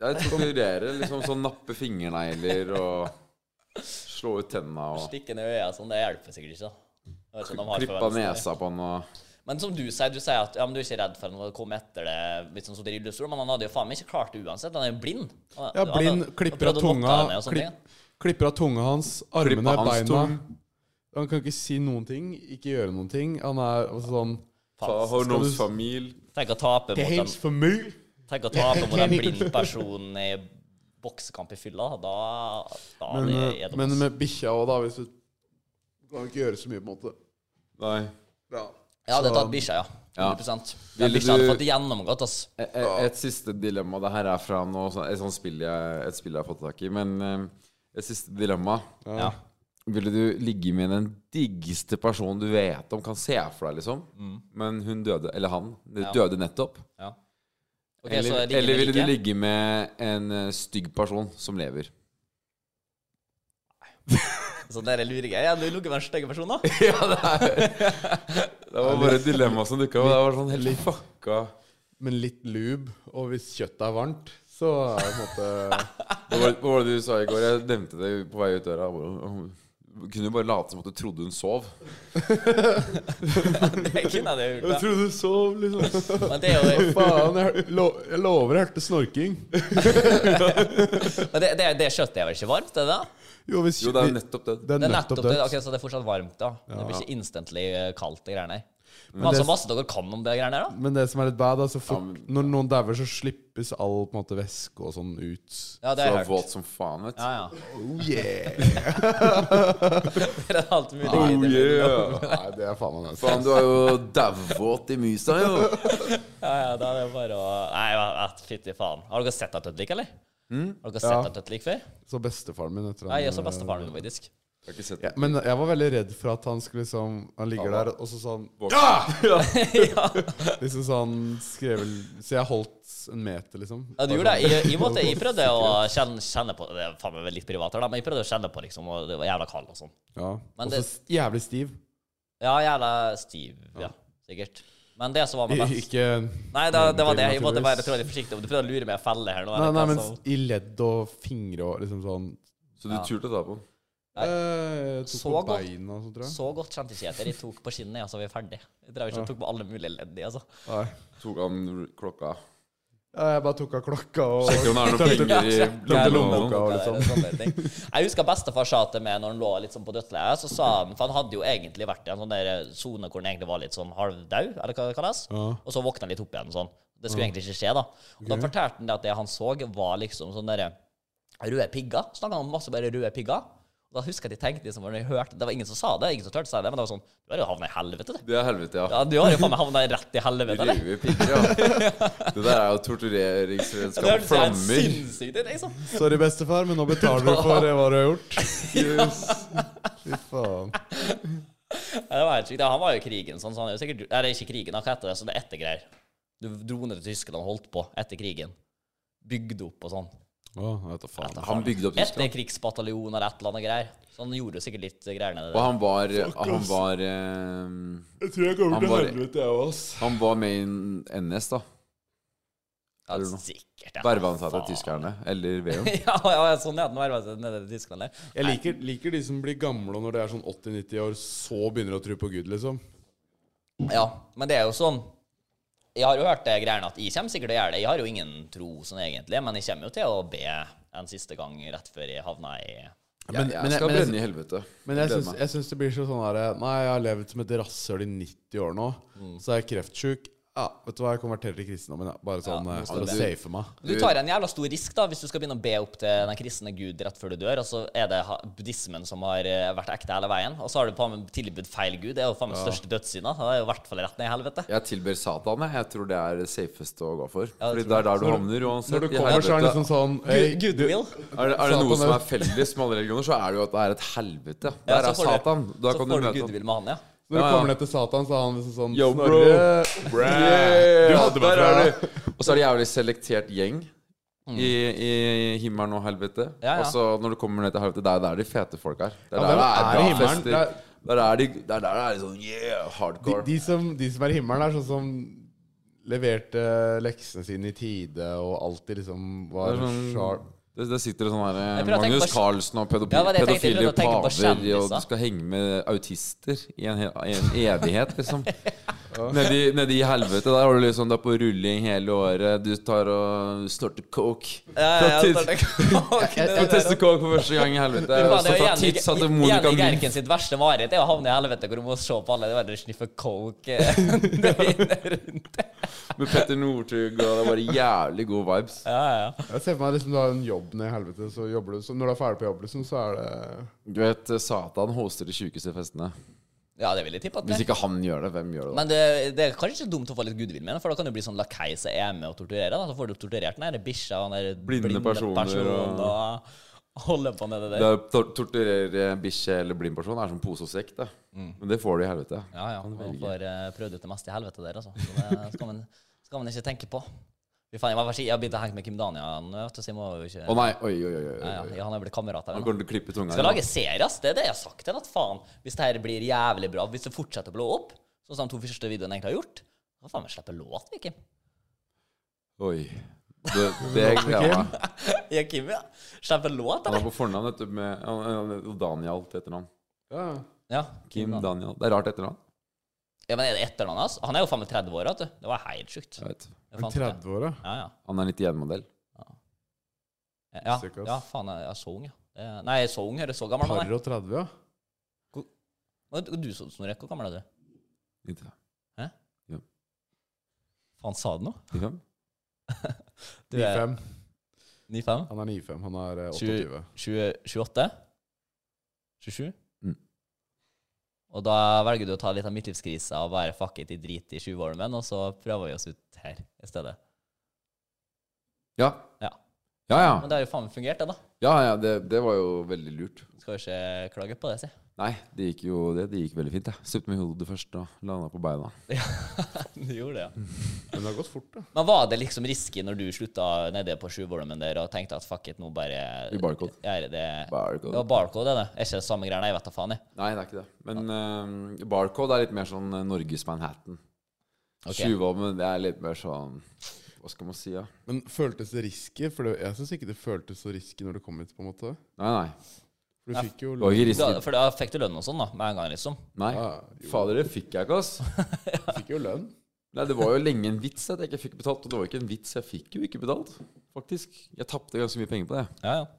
C: Jeg torturerer liksom sånn nappe fingernegler og slå ut tenna og
E: stikke ned øya sånn, det hjelper sikkert ikke, da. Jeg vet ikke om de har
C: klippe av
E: forventninger.
C: nesa på han og
E: Men som du sier, du sier at ja, men du er ikke redd for han å komme etter det, litt sånn som det i rullestol, men han hadde jo faen meg ikke klart det uansett. Han er jo blind. Han-
D: Ja,
E: han
D: blind,
E: hadde-
D: klipper
E: han
D: av
E: prøvde å
D: tunga
E: knokke henne og sånne ting.
D: klipp, Klipper av tunga hans, armene,
C: Klippe av hans
D: beina
C: tung.
D: Han kan ikke si noen ting, ikke gjøre noen ting. Han er altså sånn
C: Ta
E: Faen,
C: Hornos familie.
E: Tenk å tape mot en,
D: for meg!
E: tenk å tape mot en blind person i boksekamp i fylla. Da, da
D: Men,
E: det
D: eh,
E: er det
D: men
E: masse.
D: med bikkja òg, da, hvis du Du kan ikke gjøre så mye, på en måte.
C: Nei.
D: Ja.
E: Jeg hadde tatt bikkja, ja. 100 Den
C: Ville
E: bikkja hadde
C: du-
E: fått det gjennomgått, ass.
C: Et, E- et- et siste dilemma. Det her er fra noe, sånn- et sånt spill jeg, et spill jeg har fått tak i. Men eh, et siste dilemma.
E: Ja.
C: Ville du ligge med den diggeste personen du vet om kan se for deg, liksom? Men hun døde, eller han,
E: Mm. Ja.
C: døde nettopp.
E: ja. Ok,
C: eller,
E: så ligger
C: eller ville du
E: ikke?
C: ligge med en eh, stygg person som lever?
E: Så dere lurer jeg. Ja, du ligger med en stygg person, da?
C: ja, det er Det var bare et dilemma som dukka opp. Det var sånn helt fucka
D: Men litt lube, og hvis kjøttet er varmt, så er det på en måte
C: Hva var, hva var det du sa i går? Jeg nevnte det på vei ut døra. Du kunne jo bare late som at du trodde hun sov.
E: Det kunne jeg jo gjort.
D: trodde du sov, liksom.
E: da. Men det er jo
D: Faen, jeg, hør- lo, jeg lover jeg hørte snorking.
E: Men det, det, det kjøttet er vel ikke varmt, er det det?
D: Jo, hvis,
C: Jo, det er jo nettopp det.
D: det er
E: Det er nettopp det.
D: dødt.
E: Ok, så det er fortsatt varmt, da. Det blir ikke instantly eh, kaldt, de greiene her. Men
D: det-
E: altså, masse dere kan om de greiene her, da?
D: Men det som er litt bad, altså fort,
C: Ja, men-
D: når noen dauer, så slippes all på en måte væske og sånn ut.
E: Ja, det
C: Du
E: har
C: var
E: jeg hørt.
C: våt som faen, vet du.
E: Ja, ja.
D: Oh yeah!
E: Det er alt mulig.
C: Oh yeah!
D: Nei, det er faen meg
C: Faen, du er jo dauvvåt i mysa, jo.
E: Ja, ja, da er det bare å Nei, hva- hva- fytti faen. Har dere sett et dødlik, eller? Har dere sett
D: Ja.
E: et dødlik før?
D: Så bestefaren min etter
E: Nei, jeg så bestefaren min, faktisk.
C: Jeg har ikke sett
D: ja, Men jeg var veldig redd for at han skulle liksom Han ligger der og så sånn
E: ja.
D: Liksom sånn skrevel Så jeg holdt en meter, liksom.
E: ja, du gjorde det. Jeg, jeg, måtte, jeg prøvde å kjenne, kjenne på Det er faen meg litt privat her, da, men jeg prøvde å kjenne på, liksom, og det var jævla kaldt og sånn.
D: Ja.
E: Men
D: Og så
E: det-
D: s- jævlig stiv.
E: Ja, jævla stiv, ja. sikkert. Men det som var med best
D: Ikke
E: Nei, det, det var det. Jeg
D: Ingenting, naturligvis.
E: måtte være trådlig forsiktig. Du prøvde å lure meg i felle her nå. altså.
D: Nei,
E: eller
D: nei,
E: hva,
D: men
E: så-
D: i ledd og fingre og liksom sånn
C: Så du turte å ta på den?
E: Nei.
D: Eh, tok
E: Så
D: på
E: godt.
D: beina og sånt, tror jeg.
E: Så godt kjente ikke jeg etter. Jeg tok på skinnet, og så var vi ferdig. Jeg drev ikke og tok på alle mulige ledd i, altså.
D: Nei.
C: Tok han klokka?
D: Ja, jeg bare tok av klokka og
C: Sjekker om det er noen penger i
D: Ja,
C: lommeboka?
D: lommeboka.
C: og
D: og
E: Ja,
D: liksom.
E: sånne ting. Jeg husker bestefar sa til meg når han lå litt sånn på dødsleiet, så sa han For han hadde jo egentlig vært i en sånn der sone hvor han egentlig var litt sånn halvdau, eller hva det kalles. Og så våkna han litt opp igjen sånn. Det skulle egentlig ikke skje, da. Og da fortalte han det at det han så, var liksom sånne derre røde pigger. Snakka om masse bare røde pigger. Og da husker jeg at jeg tenkte liksom, når jeg hørte Det var ingen som sa det, ingen som turte å si det, men det var sånn Du har jo havna i helvete, du.
C: Det er helvete, ja.
E: Ja, du har jo faen meg havna rett i helvete, eller?
C: Rive pigger, ja. Det der er jo tortureringsredskap.
E: Det hørtes helt
C: Flammer.
E: sinnssykt ut, liksom.
D: Sorry, bestefar, men nå betaler du for eh, hva du har gjort. Yes. Fy faen.
E: Ja, det var helt sykt. Ja, Han var jo i krigen, sånn, så han er jo sikkert Nei, det er ikke krigen, han heter det, så det er ettergreier. Du dro ned til Tyskland og holdt på etter krigen. Bygde opp og sånn.
D: Å, jeg vet da faen.
C: Han bygde opp Tyskland.
E: Etterkrigsbataljon eller et eller annet greier. Så han gjorde jo sikkert litt greier nede
C: Og
E: der.
C: han var Han var, eh,
D: Jeg tror jeg kommer
C: Han
D: til
C: bare-
D: helvete, jeg òg, ass.
C: han var med i en NS, da.
E: Ja,
C: eller noe.
E: sikkert. ja.
C: Verva han seg til
E: Faen.
C: tyskerne. Eller Veum.
E: Ja, ja, sånn er det nå, verva seg nede til Tyskland der.
D: Jeg liker, liker de som blir gamle, og når de er sånn 80-90 år, så begynner de å tro på Gud, liksom.
E: Ja, men det er jo sånn Jeg har jo hørt det greiene at jeg kommer sikkert til å gjøre det. Jeg har jo ingen tro sånn egentlig, men jeg kommer jo til å be en siste gang rett før jeg havna i
D: Men,
C: Jeg skal brenne i helvete.
D: Men jeg
C: Gleder
D: syns,
C: meg.
D: jeg syns det blir så sånn her Nei, jeg har levd som et rasshøl i 90 år nå. Så er jeg kreftsjuk. Ja, vet du hva, jeg konverterer til kristendommen. Ja. Bare sånn eh, for å safe meg.
E: Du tar en jævla stor risk da hvis du skal begynne å be opp til den kristne gud rett før du dør. Og så er det ha- buddhismen som har eh, vært ekte hele veien. Og så har du faen meg tilbudt feil gud. Det er jo faen meg største dødssynda. Det er jo i hvert fall rett ned i helvete.
C: Jeg tilber Satan. Jeg Jeg tror det er det safeste å gå for.
E: Ja,
C: Fordi
E: det
C: det er der du
D: Når du-
C: havner uansett.
D: Når du
C: i
D: kommer, så er det
C: helvete.
D: liksom sånn
E: Gud-
D: «Hei, du-
E: Gudvill.
C: Er det, er det noe
D: Satan
C: som
D: er-
C: er felles med alle religioner, så er det jo at det er et helvete.
E: Ja,
C: Der
E: så
C: er
E: får du-
C: Satan. Da
E: så
C: kan du
E: får du
C: møte
E: gudvill med han, ja.
D: Når du
C: Ja, ja.
D: kommer ned til Satan, så er han liksom sånn
C: Yo, bro.
D: Snorre. Du
C: Yeah,
D: hadde meg
C: der
D: fra. Mm.
C: er du. Og så er det jævlig selektert gjeng i, i himmelen og helvete.
E: Ja, ja.
C: Og så når du kommer ned til helvete, det er der de fete folk er. Det er der
D: Ja,
C: det
D: hvem
C: er
D: er i
C: bra
D: himmelen?
C: fester.
D: Det er-
C: Det er der de- det er der det er sånn yeah,
D: De,
C: hardcore.
D: de, som, de som er i himmelen, er sånn som leverte leksene sine i tide, og alltid liksom var
C: Det er sånn-
D: sharp.
C: det, det sitter sånn her eh,
E: Jeg prøver å tenke
C: Magnus
E: på-
C: Carlsen og pedofi
E: Ja, det var det jeg tenkte.
C: pedofile
E: Jeg prøvde å tenke på
C: paver, og
E: kjendiser.
C: du skal henge med autister i en, he- i en evighet, liksom. Nedi, nedi i helvete, der har du liksom deg på rulling hele året. Du tar og snorter coke.
E: Ja, ja, ja,
C: Fra
E: det er
C: tids-
E: det.
C: Jeg tester coke for første gang i helvete.
E: Men faen,
C: Og så
E: det er jo
C: fra
E: Jenny-
C: tits til
E: Jenny
C: Monica Milf.
E: Gerken sitt verste mareritt Det er å havne i helvete hvor du må se på alle de der sniffe coke eh, døgnet rundt.
C: Med Petter Northug, og det er bare jævlig gode vibes.
E: Ja, ja.
D: Jeg ser for meg liksom du har en jobb ned i helvete, så jobber du så Når du er ferdig på jobb, liksom, så er det
C: Du vet, Satan hoster de sjukeste festene.
E: ja, det vil jeg tippe at det
C: Hvis ikke han gjør det, hvem gjør det da?
E: Men det, det er kanskje ikke dumt å få litt goodwill med den, for da kan du bli sånn lakei som er med og torturerer. Da. Så får du torturert den der bikkja og den der
C: Blinde personer
E: personen,
C: og-
E: og holde på med det
C: Det
E: der.
C: er tor- torturerer eh, bikkje eller blind person er som pose og sekk, det. Men det får du i helvete.
E: Mm. Ja, ja. Man
C: velge.
E: får eh, prøvd ut det meste i helvete der, altså. Så det skal man, skal man ikke tenke på. Fy faen, jeg, må bare si- jeg har begynt å henge med Kim Daniel nå, vet du, så jeg må jo ikke
C: Å nei, oi, oi, oi. oi.
E: ja, ja, han er blitt kamerat her.
C: Nå
E: nå.
C: kommer du til å klippe tunga
E: Skal
C: igjen.
E: lage serie, ass. Det er det jeg har sagt til ham. At faen, hvis det her blir jævlig bra, hvis det fortsetter å blå opp, sånn som de to første videoene egentlig har gjort, da faen meg slipper låt, vi, Kim.
C: Oi. Det, det gleder jeg meg.
E: Ja, Kim, ja. Slipper låt,
C: Han
E: eller?
C: er på fornavn vet du, med han- han er Daniel til etternavn.
D: ja.
E: Ja,
C: Kim
E: Daniel.
C: Daniel. Det er rart etternavn.
E: Ja, men er det etternavnet hans? Altså, Han er jo faen meg 30 år, vet du. Det var helt sjukt.
C: Jeg vet.
E: Det
D: En
E: fant jeg.
D: 30-åra.
E: Ja, ja.
C: Han er 91-modell.
E: Ja,
D: Sikkert, ass.
E: ja, faen, jeg er så ung, ja. Eh, Nei, jeg er så ung, høres så gammel
D: Par
E: ut.
D: og 30, ja.
E: Du, så- Snorre, hvor gammel er du?
C: Ja.
E: Faen, sa du noe?
C: 95?
E: Du er
D: 95.
E: 95?
D: Han er 95. Han er eh,
E: Tjue-
D: 28.
E: 20, 28? 27?
C: Mm.
E: Og da velger du å ta litt av midtlivskrisa og bare fuck it i drit i 20-årene, og så prøver vi oss ut her i stedet.
C: Ja.
E: Ja.
C: Ja,
E: Men
C: ja.
E: det har jo faen meg fungert, det, da.
C: ja, ja det, det var jo veldig lurt.
E: Skal jo ikke klage på det, si.
C: Nei, det gikk jo det, det gikk veldig fint. Jeg Stupte med hodet først og landa på beina.
E: Du gjorde det, ja.
D: Men det har gått fort, da.
E: Men var det liksom risky når du slutta nede på sjuvolmen der og tenkte at fuck it, nå bare
C: I barcode.
E: Gjør det
C: Barcode.
E: Ja, barcode er det. Er ikke det samme greiene? Jeg vet da faen, jeg.
C: Nei, det er ikke det. Men eh, barcode er litt mer sånn eh, Norges Manhattan.
E: Ok.
C: Tjuvhold, men det er litt mer sånn Hva skal man si, da?
D: Men føltes det risky? For det, jeg syns ikke det føltes så risky når du kom hit, på en måte.
C: Nei, nei.
D: For du fikk jo
C: Det var ikke
E: Da,
C: risky.
E: for da fikk du lønn og sånn, da, med en gang, liksom.
C: Nei. Fader, det fikk jeg ikke, ass.
D: Du fikk jo lønn.
C: Nei, det var jo lenge en vits at jeg ikke fikk betalt. Og det var ikke en vits, jeg fikk jo ikke betalt, faktisk. Jeg tapte ganske mye penger på det.
E: Ja, ja.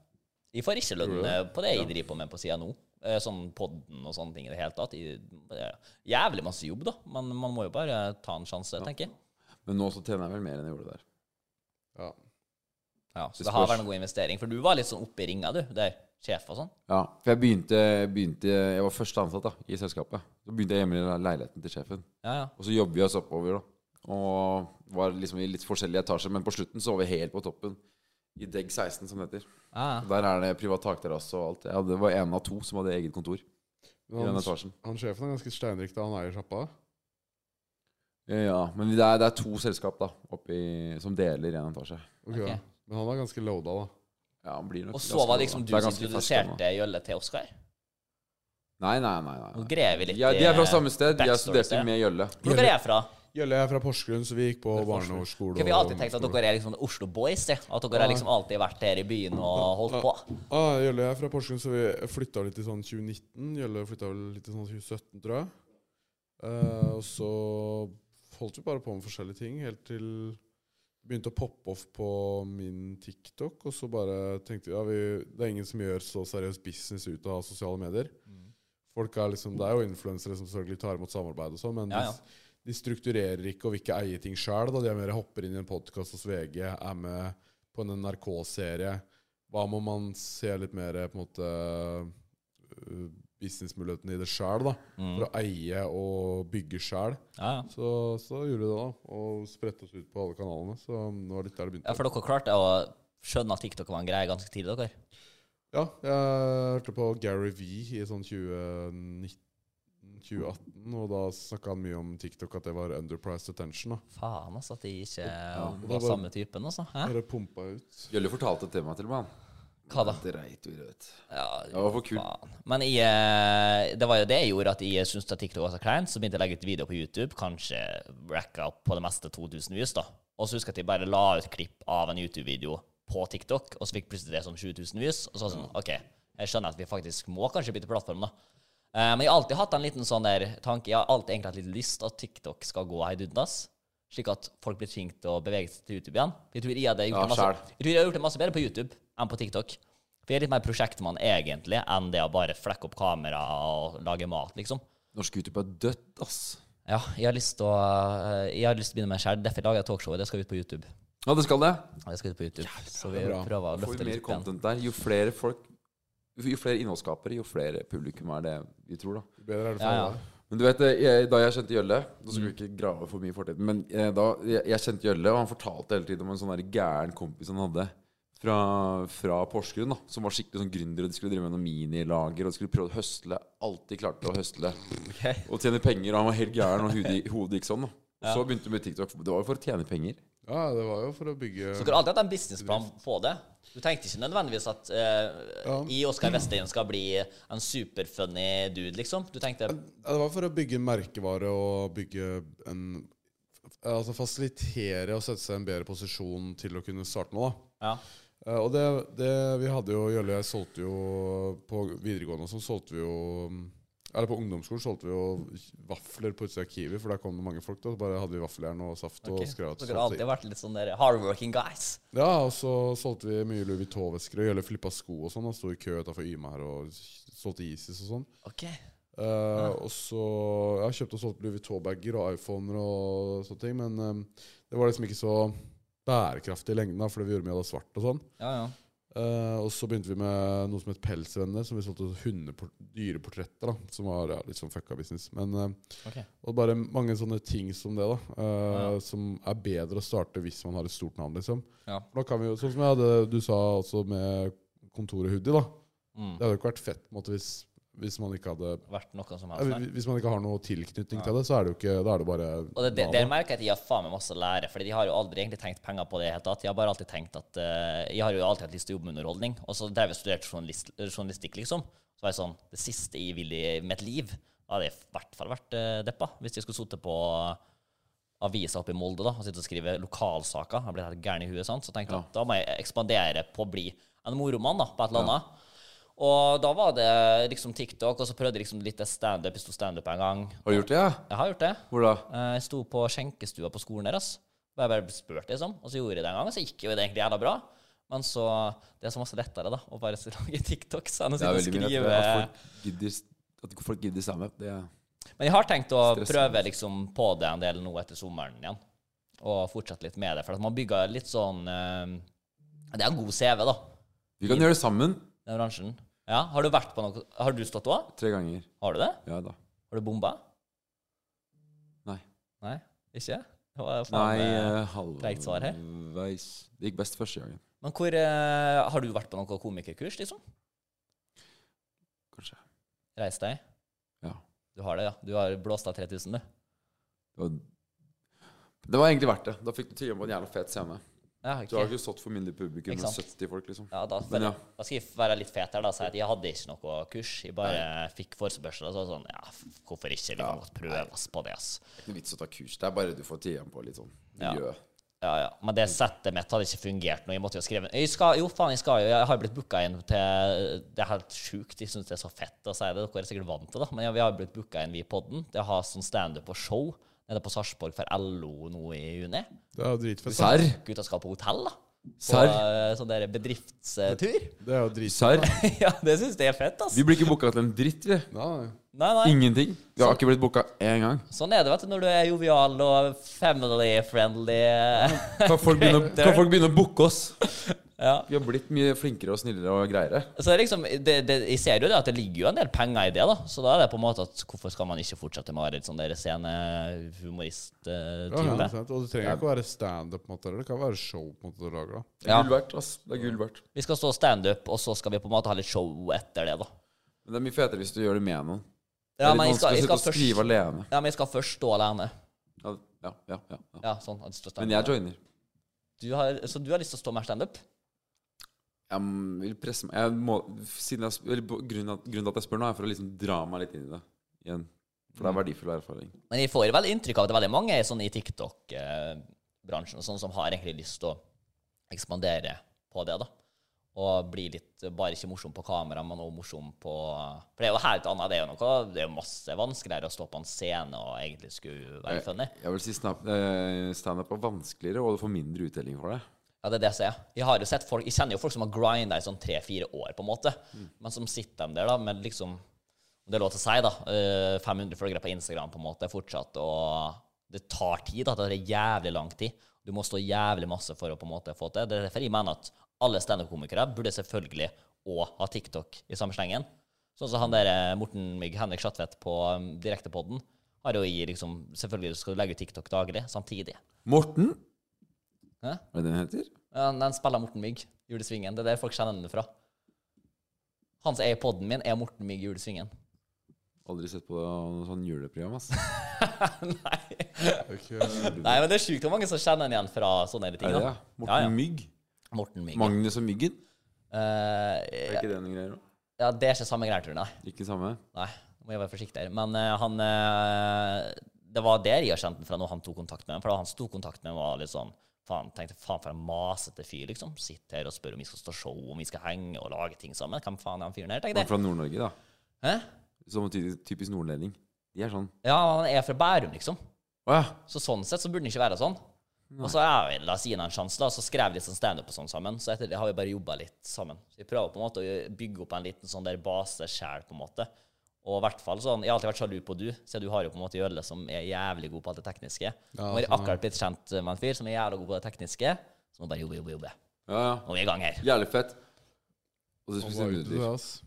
E: Jeg får ikke lønn eh, på det jeg driver på med på sida nå. Eh, Sånn podden og sånne ting i det hele tatt. I- det er Jævlig masse jobb, da. Men man må jo bare ta en sjanse, tenker jeg.
C: Men nå så tjener jeg vel mer enn jeg gjorde der.
D: Ja.
E: Ja, så
C: Det
E: det har
C: spørs.
E: vært en god investering. For du var litt sånn oppe i ringa, du. Der. Sjef og sånn.
C: Ja, for jeg begynte, begynte Jeg var første ansatt da, i selskapet. Så begynte jeg hjemme i leiligheten til sjefen.
E: Ja, ja.
C: Og så jobber vi oss oppover, da. Og var liksom i litt forskjellige etasjer. Men på slutten så var vi helt på toppen. I Deg 16, som det heter.
E: ja. ja.
C: Og Der er det privat takterrasse og alt. Ja, det var en av to som hadde eget kontor i
D: Men
C: den
D: han,
C: etasjen.
D: han sjefen er ganske steinrik da han eier sjappa.
C: Ja, men det er, det er to selskap da, oppi, som deler en etasje.
D: Ok,
E: Ok.
D: da. Men han var ganske loada, da.
C: Ja, han blir nok
E: Og så
C: ganske
E: var
C: god,
E: det liksom
C: da.
E: du
C: er
E: som
C: ganske ferskt ennå.
E: introduserte Jølle til Oskar.
C: Nei, nei, nei.
E: Nå
C: nei, nei.
E: greier vi litt eh,
C: Ja, de er fra
E: i-
C: samme sted. Jeg
E: backstory
C: studerte
E: til.
C: med Jølle.
E: Hvor dere er fra?
D: Gjølle er fra Porsgrunn, så vi gikk på barnehårskole.
E: Hvorfor har vi alltid tenkt at dere er liksom Oslo Boys? Det? At dere har liksom alltid vært her i byen og holdt på?
D: Ah, Gjølle er fra Porsgrunn, så vi flytta litt i sånn 2019. Gjølle flytta vel litt i sånn 2017, tror jeg. Eh, og så holdt vi bare på med forskjellige ting helt til det begynte å poppe off på min TikTok. Og så bare tenkte vi ja, vi, det er ingen som gjør så seriøs business ut av sosiale medier.
E: Mm.
D: Folk er liksom, Det er jo influensere som selvfølgelig tar imot samarbeid og sånn, men
E: Ja, ja.
D: De, de strukturerer ikke og vil ikke eie ting sjøl. De er mer hopper inn i en podkast hos VG, er med på en NRK-serie. Hva må man se litt mer på en måte øh, businessmulighetene i det sjøl, da?
E: Mm.
D: For å eie og bygge sjøl.
E: Ja, ja.
D: Så, så gjorde vi det, da. Og spredte oss ut på alle kanalene. Så um, det var litt der det
E: Ja,
D: begynte.
E: for dere klarte å skjønne at TikTok var en greie ganske tidlig, dere.
D: Ja, jeg hørte på Gary V i sånn 2019, 2018, og da snakka han mye om TikTok, at det var underpriced attention. da.
E: Faen, altså, at de ikke
D: det
E: var
D: var-
E: samme typen, altså. Hæ?
D: Bare pumpa ut.
C: Jølle fortalte det til meg, til og med. han.
E: Hva da?
C: Dreit vi ut.
E: Ja,
C: Det var for kult.
E: faen. Men jeg, eh, det var jo det jeg gjorde, at jeg syntes at TikTok var så klein, så begynte jeg å legge ut videoer på YouTube, kanskje racka opp på det meste 2000 views, da. Og så husker jeg at jeg bare la ut klipp av en YouTube-video på TikTok, og så fikk plutselig det sånn 7000 views, og så var det sånn, ok, jeg skjønner at vi faktisk må kanskje bytte plattform, da. Eh, Men jeg har alltid hatt en liten sånn der tanke, jeg har alltid egentlig hatt litt lyst at TikTok skal gå heidundas, slik at folk blir tvunget til å bevege seg til YouTube igjen. Jeg tror jeg hadde gjort,
C: Ja,
E: det masse,
C: selv.
E: jeg tror jeg hadde gjort det masse bedre på YouTube enn på TikTok. For jeg er litt mer prosjektmann egentlig enn det å bare flekke opp kamera og lage mat, liksom.
C: Norsk YouTube er dødt, ass.
E: Ja, jeg har lyst til å, eh, jeg har lyst til å begynne med en skjær. Derfor lager jeg talkshowet. Det skal ut på YouTube.
C: Ja, det skal det.
E: Det skal ut på YouTube. Så vi
D: bra.
E: prøver å
C: Får vi
E: løfte litt
C: mer
E: opp igjen.
C: content der, jo flere folk Jo flere innholdsskapere, jo flere publikum er det vi tror, da.
D: Jo Bedre er det for
E: Ja, ja.
D: alle.
C: Men du vet, eh, jeg, da jeg kjente Jølle Da skal vi ikke grave for mye i fortiden, men eh, da jeg, jeg kjente Jølle, og han fortalte hele tiden om en sånn der gæren kompis han hadde fra, fra Porsgrunn, da, som var skikkelig sånn gründer, og de skulle drive med noen minilager, og de skulle prøve å høsle alt de klarte å høsle, og tjene penger, og han var helt gæren, og hodet, hodet gikk sånn, da. Og så begynte du med TikTok. Det var jo for å tjene penger.
D: Ja, det var jo for å bygge
E: Så dere har alltid hatt en businessplan på det. Du tenkte ikke nødvendigvis at eh,
D: Ja.
E: jeg, Oskar Westien, skal bli en superfunny dude, liksom. Du tenkte
D: Ja, Det var for å bygge en merkevare og bygge en Altså fasilitere og sette seg i en bedre posisjon til å kunne starte noe, da.
E: Ja.
D: Eh, Og det, det vi hadde jo Jølle og jeg solgte jo på videregående og sånn, solgte vi jo Eller på ungdomsskolen solgte vi jo vafler på utsida av Kiwi, for der kom det mange folk. da, Så bare hadde vi vaffeljern og saft og skrev at
E: Dere har alltid vært litt sånn der hardworking guys.
D: Ja, og så solgte vi mye Louis Vuitton-vesker og Jølle flippa sko og sånn. Han sto i kø utafor Yme her og solgte Isis og sånn.
E: Ok.
D: Eh, Og så Jeg har kjøpt og solgt Louis Vuitton-bager og iPhoner og sånne ting, men eh, det var liksom ikke så bærekraftig i lengden, da, fordi vi gjorde mye av det svart og sånn.
E: Ja, ja.
D: Eh, og så begynte vi med noe som het Pelsvenner, som vi solgte sånn hundeport- dyreportretter, da, som var ja, litt sånn fucka business. Men eh,
E: Ok.
D: Og bare mange sånne ting som det, da, eh, som er bedre å starte hvis man har et stort navn, liksom.
E: Ja.
D: For Da kan vi jo, sånn som jeg hadde, du sa også med kontoret Hoodie, da. Det hadde jo ikke vært fett på en måte, hvis, hvis man ikke hadde
E: Vært noe som
D: ja,
E: helst.
D: hvis- Hvis man ikke har noe tilknytning til det, så er det jo ikke Da er det bare
E: Og det, det,
D: navnet.
E: der merker jeg at de har faen meg masse å lære, Fordi de har jo aldri egentlig tenkt penger på det i det hele tatt. Jeg har bare alltid tenkt at eh, Jeg har jo alltid hatt lyst til å jobbe med underholdning, og så drev jeg og studerte journalist, eh, journalistikk, liksom. Så var jeg sånn Det siste jeg vil i mitt liv, da hadde jeg i hvert fall vært eh, deppa, hvis jeg skulle sittet på avisa oppe i Molde da, og sitter og skriver lokalsaker. Jeg blir helt gæren i huet, sant? så tenkte jeg at da må jeg ekspandere på å bli en moromann da, på et eller annet. Og da var det liksom TikTok, og så prøvde jeg liksom litt standup. Jeg sto standup en gang.
C: Har du gjort det, ja?
E: Jeg har gjort det.
C: Hvor da?
E: Eh, Jeg sto på skjenkestua på skolen deres. Jeg bare ble spurt, liksom. Og så gjorde jeg det en gang, og så gikk jo det egentlig jævla bra. Men så Det er så masse lettere, da, å bare sitte og lage TikToks enn å
C: Det er
E: sitte og
C: veldig mye
E: skrive
C: lettere at folk gidder, at folk gidder sammen. Det er
E: Men jeg har tenkt å
C: Stress.
E: prøve liksom på det en del nå etter sommeren igjen. Og fortsette litt med det. For at man bygger litt sånn eh, Det er en god CV, da,
C: Vi kan gjøre det sammen
E: den bransjen. Ja, Har du vært på noe Har du stått òg?
C: tre ganger.
E: Har du det?
C: Ja da.
E: Har du bomba?
C: Nei.
E: Nei? Ikke? Det var faen,
C: Nei,
E: eh,
C: eh,
E: Treigt svar her.
C: halvveis Det gikk best første gangen,
E: Men hvor eh, Har du vært på noe komikerkurs, liksom?
C: kanskje.
E: Reis deg.
C: Ja.
E: Du har det, ja. Du har blåst av 3000, du.
C: Det var, det var egentlig verdt det. Da fikk du tilgang på en jævla fet scene.
E: Ja,
C: Du har
E: ok.
C: ikke stått for mindre publikum
E: Ikke
C: enn
E: sant.
C: 70 folk, liksom.
E: Ja, da,
C: Men ja.
E: da skal jeg være litt fet her da, og si at jeg hadde ikke noe kurs. Jeg bare fikk forespørsel og så var det sånn Ja, f- hvorfor ikke? Vi kan godt prøve oss på det, ass.
C: Det er ikke noe vits å ta kurs. Det er bare du får tilgang på litt sånn
E: Ja.
C: miljø.
E: Ja, ja. Men
C: Mm.
E: det settet mitt hadde ikke fungert nå. Jeg måtte jo skrive jeg skal, Jo, faen, jeg skal jo Jeg har blitt booka inn til Det er helt sjukt. Jeg syns det er så fett å si det. Dere er sikkert vant til det, men ja, vi har blitt booka inn, vi i podden, til å ha sånn standup og show nede på Sarpsborg for LO nå i juni.
F: Det er jo dritfett. da.
C: Serr?
E: Gutta skal på hotell, da. På
C: Serr?
E: eh, sånn der bedriftstur.
F: Det er jo dritfett.
C: Serr?
E: ja, det syns jeg er fett, ass.
C: Vi blir ikke booka til en dritt, vi.
F: Ja, ja.
E: Nei, nei.
C: Ingenting. Vi har ikke blitt booka én gang.
E: Sånn er det, vet du, når du er jovial og family-friendly.
C: Kan folk begynne, å- kan folk begynne å booke oss?
E: Ja.
C: Vi har blitt mye flinkere og snillere og greiere.
E: Så det er liksom, det, det, jeg ser jo det at det ligger jo en del penger i det, da. Så da er det på en måte at hvorfor skal man ikke fortsette med å være litt sånn der
F: Ja, ja,
E: scenehumorist-type?
F: sant. og det trenger ikke å være standup, på en måte, eller det kan være show. på en måte du lager da.
C: Det er
E: Ja.
C: gull verdt, ass. Det er gull verdt.
E: Vi skal stå standup, og så skal vi på en måte ha litt show etter det, da.
C: Men det er mye fetere hvis du gjør det med noen. Det
E: Ja,
C: er
E: men
C: litt
E: jeg skal,
C: vanskelig å
E: jeg
C: sitte
E: skal
C: og skrive
E: først
C: alene.
E: ja, men jeg skal først stå alene.
C: Ja, ja, ja, ja, ja.
E: Ja, sånn. at jeg står
C: Men jeg joiner.
E: Du har, så du har lyst til å stå mer standup?
C: Jeg m- vil presse meg jeg må, siden jeg, sp- eller, bo- grunnen, at, grunnen til at jeg spør nå, er for å liksom dra meg litt inn i det igjen. For det er verdifull erfaring.
E: Men jeg får vel inntrykk av at det er veldig mange sånn i TikTok-bransjen og sånn som har egentlig lyst til å ekspandere på det, da. Og bli litt eh, bare ikke morsom på kamera, men også morsom på For det er jo helt annet. Det er jo noe Det er jo masse vanskeligere å stå på en scene og egentlig skulle være funny.
C: Jeg vil si snap- eh, standup er vanskeligere, og du får mindre uttelling for det.
E: Ja, det er det jeg ser. Jeg har jo sett folk Jeg kjenner jo folk som har grinda i sånn tre-fire år, på en måte. Men som sitter dem der, da, med liksom om Det er lov til å si, da. eh, 500 følgere på Instagram, på en måte, fortsatt. Og det tar tid, da. Det tar jævlig lang tid. Du må stå jævlig masse for å på en måte få til. Det er derfor jeg mener at alle standup-komikere burde selvfølgelig òg ha TikTok i samme slengen. Sånn som han der eh, Morten Mygg, Henrik Schatvedt på um, Direktepodden, har jo i liksom Selvfølgelig skal du legge ut TikTok daglig, samtidig.
C: Morten?
E: Hæ?
C: Er det det den heter?
E: Ja, Den spiller Morten Mygg, Julesvingen. Det er der folk kjenner den fra. Han som er i poden min, er Morten Mygg, Julesvingen.
C: Aldri sett på noe sånn juleprogram, ass.
E: Nei.
F: Okay.
E: Nei, men det er sjukt hvor mange som kjenner den igjen fra sånne her ting.
C: Er det
E: Da.
C: det? Morten
E: Ja, ja.
C: Mygg?
E: Morten Mygg.
C: Magnus og Myggen? Er
E: Eh,
C: ikke det noen greier òg?
E: ja, det er ikke samme greier, tror jeg. Nei.
C: Ikke samme?
E: Nei, nå må jeg være forsiktig her. Men eh, han eh, Det var der jeg har kjent den fra når han tok kontakt med meg. For da han tok kontakt med meg, var litt sånn Faen, tenkte faen for en masete fyr, liksom. Sitter her og spør om vi skal stå show, om vi skal henge og lage ting sammen. Hvem faen er han fyren her,
C: Han
E: tenkte
C: er
E: jeg.
C: fra Nord-Norge, da.
E: Hæ?
C: Som typisk, typisk nordlending. De er sånn
E: Ja, han er fra Bærum, liksom.
C: Å ja.
E: Så sånn sett så burde den ikke være sånn. Og så er vi, la oss gi henne en sjanse, da, og så skrev vi litt sånn standup og sånn sammen. Så etter det har vi bare jobba litt sammen. Så vi prøver på en måte å bygge opp en liten sånn der base sjæl, på en måte. Og i hvert fall sånn, Jeg har alltid vært sjalu på du, siden du har jo på en måte Jølle som er jævlig god på alt det tekniske. Nå har
C: altså,
E: jeg akkurat blitt kjent med en fyr som er jævlig god på det tekniske. Så må bare jobbe, jobbe, jobbe.
C: ja, ja.
E: Nå er vi i gang her.
C: Jævlig fett. Og
F: Han
C: så spiser
F: var
C: vi
F: ute, det,
C: nudler.
F: ass.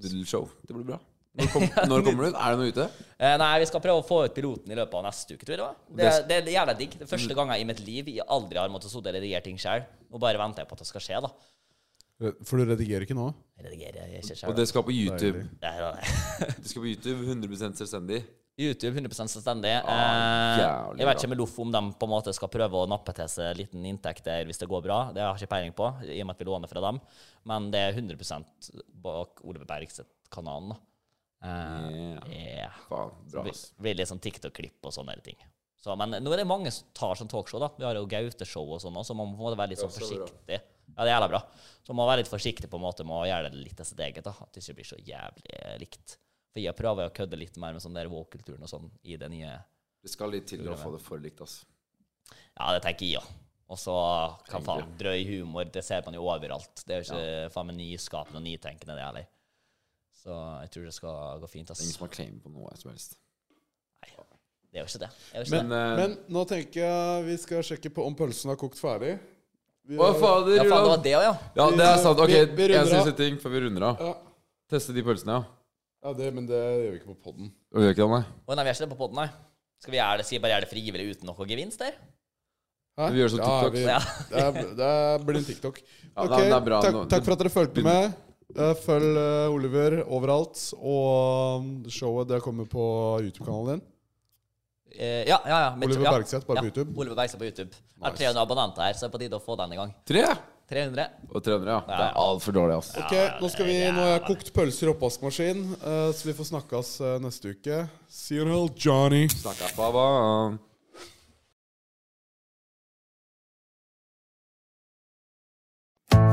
C: Nudelshow. Det blir bra. Når, kom, når kommer den? Er det noe ute?
E: Eh, nei, vi skal prøve å få ut piloten i løpet av neste uke, tror jeg det var. Det, det er jævla digg. Det er
C: Mm.
E: første gangen i mitt liv jeg aldri har måttet sitte og redigere ting sjøl. Nå bare venter jeg på at det skal skje, da.
F: For du redigerer ikke nå?
E: Redigere ikke selv,
C: Og
E: da.
C: det skal på YouTube.
F: Deilig.
E: Det her er det.
C: Det skal på YouTube 100 selvstendig.
E: YouTube 100 selvstendig.
C: Ah,
E: Eh,
C: jævlig
E: jeg vet
C: bra.
E: ikke med Loff om de på en måte skal prøve å nappe til seg liten inntekt der hvis det går bra. Det har jeg ikke peiling på, i og med at vi låner fra dem. Men det er 100 bak Ole Bergseth-kanalen. da. Eh,
C: Yeah.
E: yeah.
C: Faen, bra.
E: Det
C: ass.
E: blir litt sånn TikTok-klipp og sånne ting. Så, men nå er det mange som tar sånn talkshow, da. Vi har jo Gaute-show og sånn, også, så man må på en måte være litt sånn forsiktig. Ja, det er jævla bra. Så man må være litt forsiktig på en måte med å gjøre det litt av sitt eget, da. At det ikke blir så jævlig eh, likt. For jeg prøver jo å kødde litt mer med sånn der woke-kulturen og sånn i det nye
C: Det skal litt til å få det for likt, ass.
E: Ja, det tenker jeg òg. Og så, hva faen, drøy humor, det ser man jo overalt. Det er jo ikke faen meg nyskapende og nytenkende, det heller. Så jeg tror det skal gå fint, ass.
C: Ingen som har claim på noe som helst.
E: Det er jo ikke det. det, er jo ikke
C: Men,
E: det.
C: eh,
D: Men nå tenker jeg vi skal sjekke på om pølsen har kokt ferdig. Vi
C: Å,
D: har-
C: fader,
E: Ja, faen, det
C: Ulan.
E: var det òg, ja.
C: Ja, det er sant. Ok,
D: Vi- vi runder
C: en
D: av.
C: siste ting før vi runder av.
D: Ja.
C: Teste de pølsene, ja.
D: ja, det, men det gjør vi ikke på podden.
C: Og gjør ikke det, nei.
E: Å, nei, vi er ikke det på podden, nei. Skal vi gjøre det, si bare gjøre det frivillig uten noe gevinst der?
D: Hæ?
C: Vi gjør sånn TikTok.
E: Ja.
D: det, er, det er- blir en TikTok. Ok,
C: nei, men det er bra
D: takk,
C: nå.
D: takk for at dere fulgte med. Eh, Følg eh, Oliver overalt. Og mm, showet det kommer på YouTube-kanalen din.
E: Eh, ja, ja, ja. men-
D: Oliver
E: ja.
D: Bergseth, bare på
E: ja.
D: YouTube.
E: Oliver Bergseth på YouTube. Jeg har 300 abonnenter her, så det er på tide å få den i gang.
C: Tre
E: 300.
C: og 300, ja. Det er altfor dårlig, ass.
D: Ok, Nå skal vi, nå har jeg kokt pølser i oppvaskmaskin, eh, så vi får snakkes eh, neste uke. See you in hell, Johnny.
C: Snakka baba.